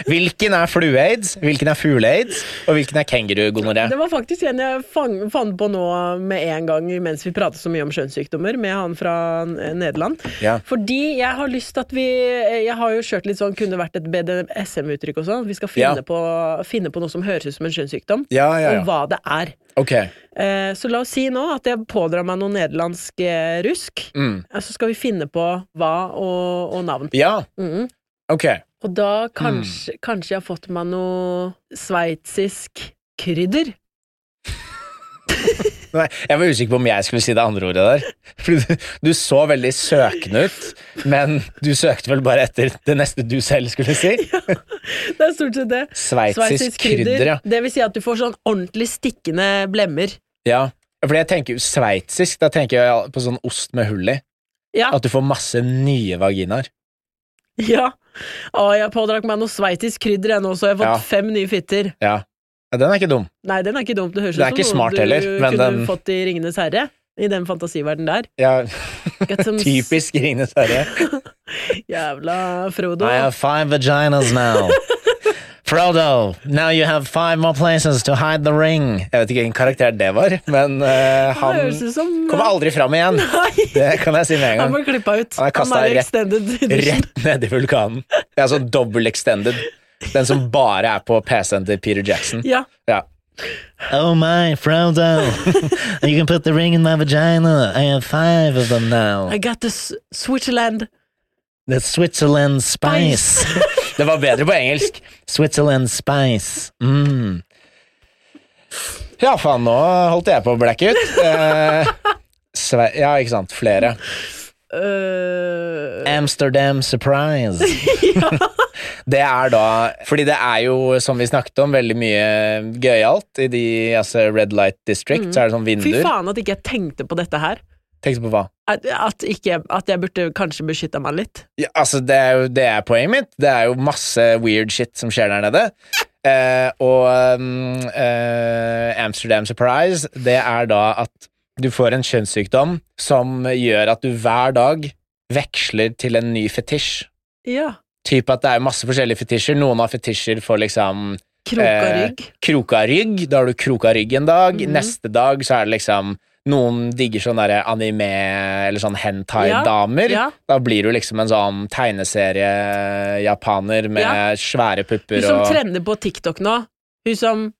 Speaker 3: Hvilken er flue-aids, hvilken er fugle-aids, og hvilken er
Speaker 2: [laughs] Det
Speaker 3: kenguru-gonoré?
Speaker 2: var faktisk en jeg fang, fant på nå med en gang mens vi pratet så mye om kjønnssykdommer, med han fra eh, Nederland.
Speaker 3: Ja.
Speaker 2: Fordi jeg har lyst til at vi Jeg har jo kjørt litt sånn, kunne vært et BDSM-uttrykk og sånn. Vi skal finne,
Speaker 3: Ja.
Speaker 2: på, finne på noe som høres ut som en kjønnssykdom,
Speaker 3: Ja, ja, ja.
Speaker 2: og hva det er.
Speaker 3: Ok.
Speaker 2: Eh, Så la oss si nå at jeg pådrar meg noe nederlandsk eh, rusk.
Speaker 3: Mm.
Speaker 2: Eh, Så skal vi finne på hva og, og navn.
Speaker 3: Ja.
Speaker 2: Mhm.
Speaker 3: Ok.
Speaker 2: Og da kanskje,
Speaker 3: Mm.
Speaker 2: kanskje jeg har fått meg noe sveitsisk krydder.
Speaker 3: Nei, jeg var usikker på om jeg skulle si det andre ordet der. Fordi du, du så veldig søkende ut, men du søkte vel bare etter det neste du selv skulle
Speaker 2: [laughs]
Speaker 3: si.
Speaker 2: Det er stort sett det.
Speaker 3: Sveitsisk krydder, ja.
Speaker 2: Det vil si at du får sånn ordentlig stikkende blemmer.
Speaker 3: ja. Fordi jeg tenker jo sveitsisk, da tenker jeg på sånn ost med hull i.
Speaker 2: Ja.
Speaker 3: At du får masse nye vaginaer.
Speaker 2: ja. Å, jeg pådrakk meg noe sveitsisk krydder jeg nå, så jeg har fått
Speaker 3: Ja.
Speaker 2: fem nye fitter.
Speaker 3: Ja. ja. Den er ikke dum.
Speaker 2: Nei, den er ikke dumt. Det høres
Speaker 3: Det er
Speaker 2: ut
Speaker 3: ikke
Speaker 2: som
Speaker 3: smart
Speaker 2: noe du
Speaker 3: heller, men
Speaker 2: kunne
Speaker 3: den-
Speaker 2: fått i Ringenes herre. I den fantasiverdenen der.
Speaker 3: Ja.
Speaker 2: Get
Speaker 3: [laughs]
Speaker 2: some s-
Speaker 3: Typisk Ringenes herre.
Speaker 2: Jævla Frodo.
Speaker 3: I have five vaginas
Speaker 2: [laughs]
Speaker 3: now. Frodo, now you have five more places to hide the ring. Jeg vet ikke hvilken karakter det var, men eh,
Speaker 2: Det
Speaker 3: han
Speaker 2: høres ut som
Speaker 3: kommer aldri fram igjen.
Speaker 2: [laughs] [laughs] Nei!
Speaker 3: Det kan jeg si med
Speaker 2: Han
Speaker 3: en gang.
Speaker 2: ble klippa ut.
Speaker 3: Han er kastet
Speaker 2: er
Speaker 3: rett-
Speaker 2: extended edition.
Speaker 3: Rett ned i vulkanen. Det er sånn dobbel extended. Den som bare er på PC-en til Peter Jackson.
Speaker 2: Ja.
Speaker 3: Ja. Oh my, [laughs] Frodo. you can put the ring in my vagina. I have five of them now.
Speaker 2: I got this Switzerland
Speaker 3: The Switzerland
Speaker 2: spice.
Speaker 3: [laughs] Det var bedre på engelsk. Switzerland spice. Mm. Ja, faen, nå holdt jeg på å blacke ut. Eh, Sve ja, ikke sant. Flere.
Speaker 2: Øh,
Speaker 3: Amsterdam [laughs] surprise. det er da Fordi det er jo, som vi snakket om, veldig mye gøyalt i de altså Red Light District. Så er det sånn
Speaker 2: Mm. Fy
Speaker 3: vinduer.
Speaker 2: faen at ikke jeg tenkte på dette her.
Speaker 3: Tenk på hva?
Speaker 2: At, at, ikke, at jeg burde kanskje beskytta meg litt.
Speaker 3: Ja, altså, det er jo det er poenget mitt. Det er jo masse weird shit som skjer der nede. Eh, og mm, eh, Amsterdam Surprise, det er da at du får en kjønnssykdom som gjør at du hver dag veksler til en ny fetisj.
Speaker 2: Ja.
Speaker 3: Typ at det er masse forskjellige fetisjer. Noen har fetisjer for liksom
Speaker 2: Kroka rygg. Mhm.
Speaker 3: Eh, kroka rygg. Da har du kroka rygg en dag. Neste dag så er det liksom noen digger sånn derre anime- eller sånn hentai-damer.
Speaker 2: Ja, ja.
Speaker 3: Da blir du liksom en sånn tegneserie-japaner med
Speaker 2: Ja.
Speaker 3: svære pupper
Speaker 2: Hun som
Speaker 3: og
Speaker 2: trender på TikTok nå. Hun som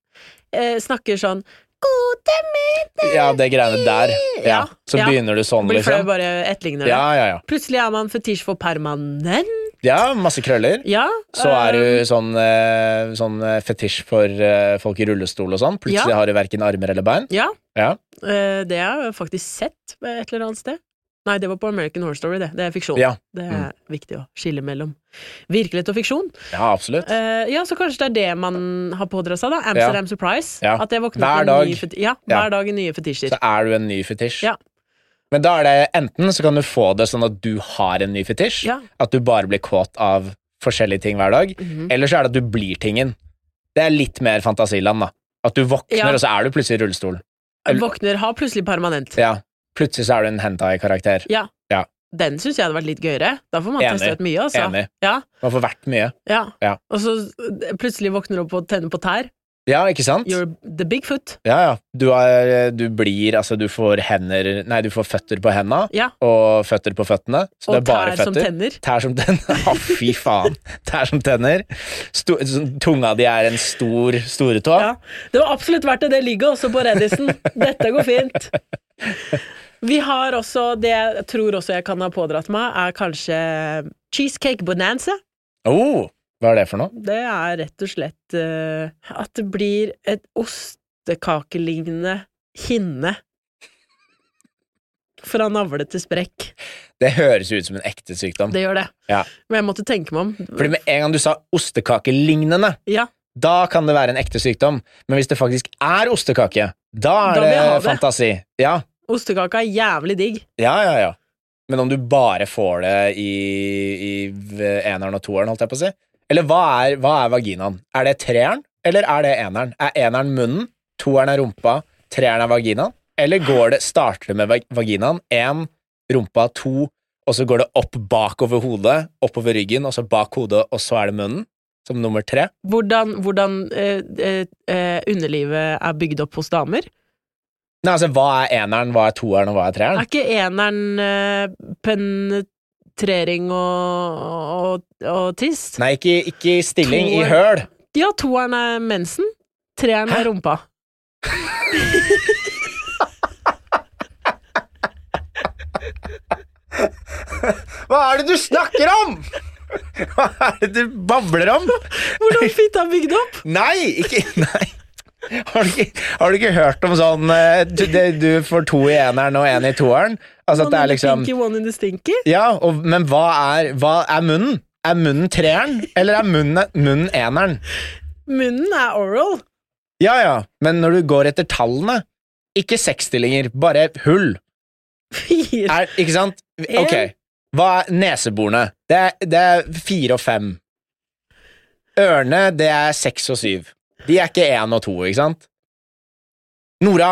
Speaker 2: eh, snakker sånn Gode middag!
Speaker 3: Ja, det greiene der. Ja.
Speaker 2: Ja,
Speaker 3: Så
Speaker 2: ja.
Speaker 3: begynner du sånn,
Speaker 2: Blir flau,
Speaker 3: liksom.
Speaker 2: bare etterligner det.
Speaker 3: Ja, ja, ja.
Speaker 2: Plutselig har man fetisj for permanent.
Speaker 3: ja, masse krøller.
Speaker 2: Ja.
Speaker 3: Så er
Speaker 2: øh,
Speaker 3: du sånn, eh, sånn eh, fetisj for eh, folk i rullestol og sånn. Plutselig
Speaker 2: Ja.
Speaker 3: har du verken armer eller bein.
Speaker 2: Ja.
Speaker 3: Ja.
Speaker 2: Eh, det har jeg faktisk sett eh, et eller annet sted. Nei, det var på American Horror Story, det. Det er fiksjon.
Speaker 3: Ja. Mm.
Speaker 2: Det er viktig å skille mellom virkelighet og fiksjon.
Speaker 3: ja, absolutt.
Speaker 2: Eh, ja, så kanskje det er det man har pådratt seg, da. Amsterdam Surprise.
Speaker 3: Ja.
Speaker 2: At jeg våkner
Speaker 3: Hver
Speaker 2: til en ny
Speaker 3: dag.
Speaker 2: feti- ja,
Speaker 3: Ja.
Speaker 2: hver dag i nye fetisjer.
Speaker 3: Så er du en ny fetisj.
Speaker 2: Ja.
Speaker 3: Men da er det enten så kan du få det sånn at du har en ny fetisj,
Speaker 2: Ja.
Speaker 3: at du bare blir kåt av forskjellige ting hver dag,
Speaker 2: Mhm.
Speaker 3: eller så er det at du blir tingen. Det er litt mer fantasiland, da. At du våkner,
Speaker 2: Ja.
Speaker 3: og så er du plutselig i rullestol. eller-
Speaker 2: Våkner, har plutselig permanent.
Speaker 3: Ja. Plutselig så er du en hentai-karakter.
Speaker 2: Ja.
Speaker 3: Ja.
Speaker 2: Den syns jeg hadde vært litt gøyere. Da får man
Speaker 3: Enig.
Speaker 2: testa ut mye, altså.
Speaker 3: Enig.
Speaker 2: Ja,
Speaker 3: Man får vært mye.
Speaker 2: ja.
Speaker 3: Ja.
Speaker 2: Og så eh, plutselig våkner du opp og tenner på tær.
Speaker 3: Ja, ikke sant?
Speaker 2: You're the Bigfoot.
Speaker 3: Ja, ja. Du, er, du blir Altså, du får hender Nei, du får føtter på henda,
Speaker 2: Ja.
Speaker 3: og føtter på føttene. Så det
Speaker 2: Og
Speaker 3: er bare
Speaker 2: tær som
Speaker 3: føtter.
Speaker 2: tenner.
Speaker 3: Tær som tenner. [laughs] Å, fy faen. Tær som tenner. Sto, sånn, tunga di er en stor storetå.
Speaker 2: Ja. Det var absolutt verdt det. Det ligger også på
Speaker 3: [laughs]
Speaker 2: Reddisen. Dette går fint. Vi har også det jeg tror også jeg kan ha pådratt meg, er kanskje cheesecake bonanza.
Speaker 3: Oh, hva er det for noe?
Speaker 2: Det er rett og slett eh, at det blir et ostekakelignende hinne fra navle til sprekk.
Speaker 3: Det høres ut som en ekte sykdom.
Speaker 2: Det gjør det.
Speaker 3: Ja.
Speaker 2: Men jeg måtte tenke meg om.
Speaker 3: Fordi med en gang du sa ostekakelignende,
Speaker 2: Ja,
Speaker 3: da kan det være en ekte sykdom. Men hvis det faktisk er ostekake, da er
Speaker 2: Da vil jeg ha
Speaker 3: det
Speaker 2: det.
Speaker 3: fantasi. Ja,
Speaker 2: ostekaka er jævlig digg.
Speaker 3: ja, ja. ja. Men om du bare får det i, i eneren og toeren, holdt jeg på å si. Eller hva er, hva er vaginaen? Er det treeren, eller er det eneren? Er eneren munnen? toeren er rumpa, treeren er vaginaen? Eller går det, starter det med vag- vaginaen? Én, rumpa, to, og så går det opp bakover hodet, oppover ryggen, og så bak hodet, og så er det munnen? Som nummer tre?
Speaker 2: Hvordan, hvordan eh, eh, eh, underlivet er bygd opp hos damer.
Speaker 3: Nei, altså, hva er eneren, hva er toeren, og hva er
Speaker 2: Er
Speaker 3: treeren?
Speaker 2: ikke eneren eh, penetrering og, og, og tiss?
Speaker 3: Nei, ikke, ikke i stilling, i
Speaker 2: Toeren.
Speaker 3: høl.
Speaker 2: Ja, toeren er mensen, treeren er rumpa.
Speaker 3: Hva er det du snakker om?! Hva er det du babler om?!
Speaker 2: Hvordan fitt er bygd opp?
Speaker 3: Nei! Ikke Nei. Har du ikke, har du ikke hørt om sånn eh, du, det, du får to i eneren og én i toeren? Altså at
Speaker 2: One in
Speaker 3: det er
Speaker 2: the
Speaker 3: liksom
Speaker 2: pinky, one in the stinky.
Speaker 3: Ja, og, men hva er, hva er munnen? Er munnen treeren, eller er munnen, munnen eneren?
Speaker 2: Munnen er oral.
Speaker 3: Ja ja, men når du går etter tallene Ikke seksstillinger, bare hull.
Speaker 2: Fire.
Speaker 3: Er, ikke sant? Ok, hva er neseborene? Det er, det er fire og fem. Ørene, det er seks og syv. De er ikke én og to, ikke sant? Nora,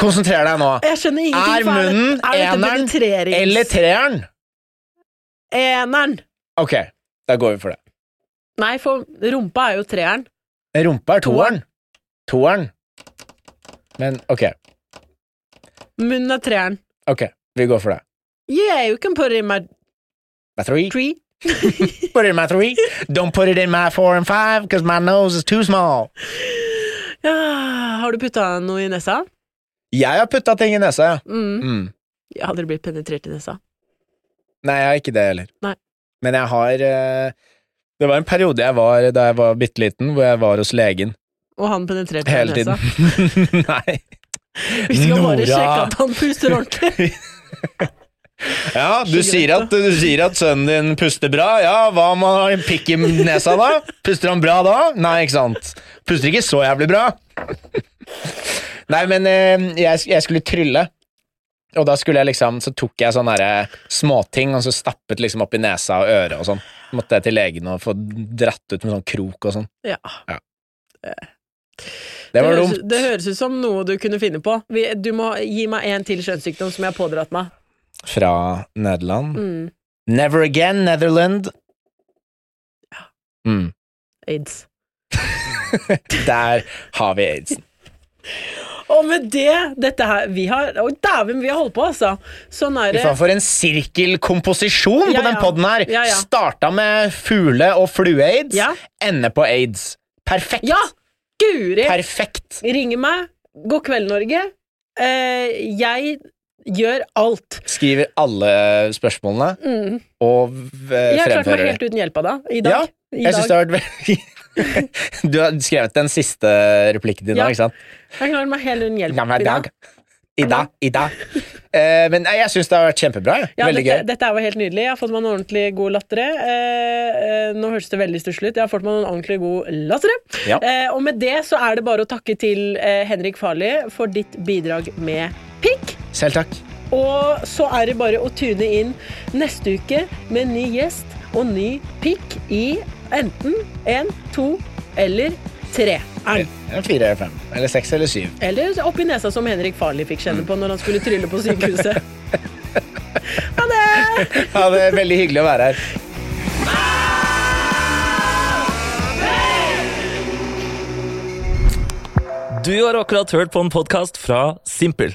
Speaker 3: konsentrer deg nå.
Speaker 2: Jeg skjønner
Speaker 3: Er
Speaker 2: ingenting. for det-
Speaker 3: munnen
Speaker 2: er dette
Speaker 3: eneren
Speaker 2: penetrerings-
Speaker 3: eller treeren?
Speaker 2: Eneren.
Speaker 3: Ok, da går vi for det.
Speaker 2: Nei, for rumpa er jo treeren.
Speaker 3: Rumpa er toeren. Toeren. Men ok,
Speaker 2: Munnen er treeren.
Speaker 3: ok, vi går for det.
Speaker 2: Yeah, you can put it in my
Speaker 3: Med three.
Speaker 2: tree.
Speaker 3: Put it in my three. Don't put it in my four and five, because my nose is too small.
Speaker 2: Ja, har du putta noe i nesa?
Speaker 3: Jeg har putta ting i nesa, ja.
Speaker 2: Mm.
Speaker 3: Mm.
Speaker 2: Jeg har aldri blitt penetrert i nesa.
Speaker 3: Nei, jeg har ikke det heller.
Speaker 2: Nei.
Speaker 3: Men jeg har eh, Det var en periode jeg var da jeg var bitte liten, hvor jeg var hos legen
Speaker 2: Og han penetrerte meg i
Speaker 3: hele
Speaker 2: nesa.
Speaker 3: tiden. [laughs] Nei.
Speaker 2: Vi skal bare
Speaker 3: Nora!
Speaker 2: sjekke at han puster
Speaker 3: [laughs]
Speaker 2: ordentlig.
Speaker 3: Ja, du sier, at, du sier at sønnen din puster bra. Ja, hva om han har en pikk i nesa da? Puster han bra da? Nei, ikke sant. Puster ikke så jævlig bra. Nei, men eh, jeg, jeg skulle trylle. Og da skulle jeg liksom, så tok jeg sånne her småting og så stappet liksom opp i nesa og øret og sånn. Måtte jeg til legen og få dratt ut med sånn krok og sånn.
Speaker 2: Ja.
Speaker 3: Det var
Speaker 2: høres,
Speaker 3: dumt.
Speaker 2: det høres ut som noe du kunne finne på. Vi, du må gi meg en til kjønnssykdom som jeg har pådratt meg.
Speaker 3: Fra Nederland.
Speaker 2: Mm.
Speaker 3: Never again, Netherland. Mm.
Speaker 2: Aids.
Speaker 3: Der har vi aidsen.
Speaker 2: Og med det dette her, vi har, Å, dæven, vi har holdt på, altså! Sånn er
Speaker 3: Fy
Speaker 2: det.
Speaker 3: faen, for en sirkelkomposisjon
Speaker 2: Ja,
Speaker 3: på den
Speaker 2: ja.
Speaker 3: podden her!
Speaker 2: Ja, ja.
Speaker 3: Starta med fugle- og flue-aids,
Speaker 2: Ja.
Speaker 3: ender på aids. Perfekt!
Speaker 2: Ja! Guri!
Speaker 3: Perfekt!
Speaker 2: Ringer meg. God kveld, Norge. Eh, jeg gjør alt.
Speaker 3: Skriver alle spørsmålene
Speaker 2: Mm.
Speaker 3: og eh,
Speaker 2: Jeg har klart meg
Speaker 3: fremfører det.
Speaker 2: helt uten hjelp av deg i dag.
Speaker 3: Ja,
Speaker 2: I
Speaker 3: jeg syns
Speaker 2: dag.
Speaker 3: det har vært veldig [laughs] Du har skrevet den siste replikken din
Speaker 2: Ja.
Speaker 3: nå, ikke sant?
Speaker 2: Jeg har klart meg helt uten hjelp
Speaker 3: Ja, men
Speaker 2: i dag.
Speaker 3: I dag, i dag. Eh, men nei, jeg syns det har vært kjempebra. jeg.
Speaker 2: Ja,
Speaker 3: Veldig
Speaker 2: dette,
Speaker 3: gøy.
Speaker 2: dette er jo helt nydelig. Jeg har fått meg en ordentlig god latter. Eh, eh, nå hørtes det veldig stusslig ut. Jeg har fått meg en ordentlig god latter.
Speaker 3: Ja.
Speaker 2: Eh, og med det så er det bare å takke til eh, Henrik Farli for ditt bidrag med pikk.
Speaker 3: Selv takk.
Speaker 2: Og så er det bare å tune inn neste uke med ny gjest og ny pikk i enten én, to eller tre. Er-
Speaker 3: En Fire eller fem. Eller seks eller syv.
Speaker 2: Eller oppi nesa, som Henrik Farli fikk kjenne på når han skulle trylle på sykehuset. ha det!
Speaker 3: Ja, det er veldig hyggelig å være her.
Speaker 1: Du har akkurat hørt på en podkast fra Simpel. ah.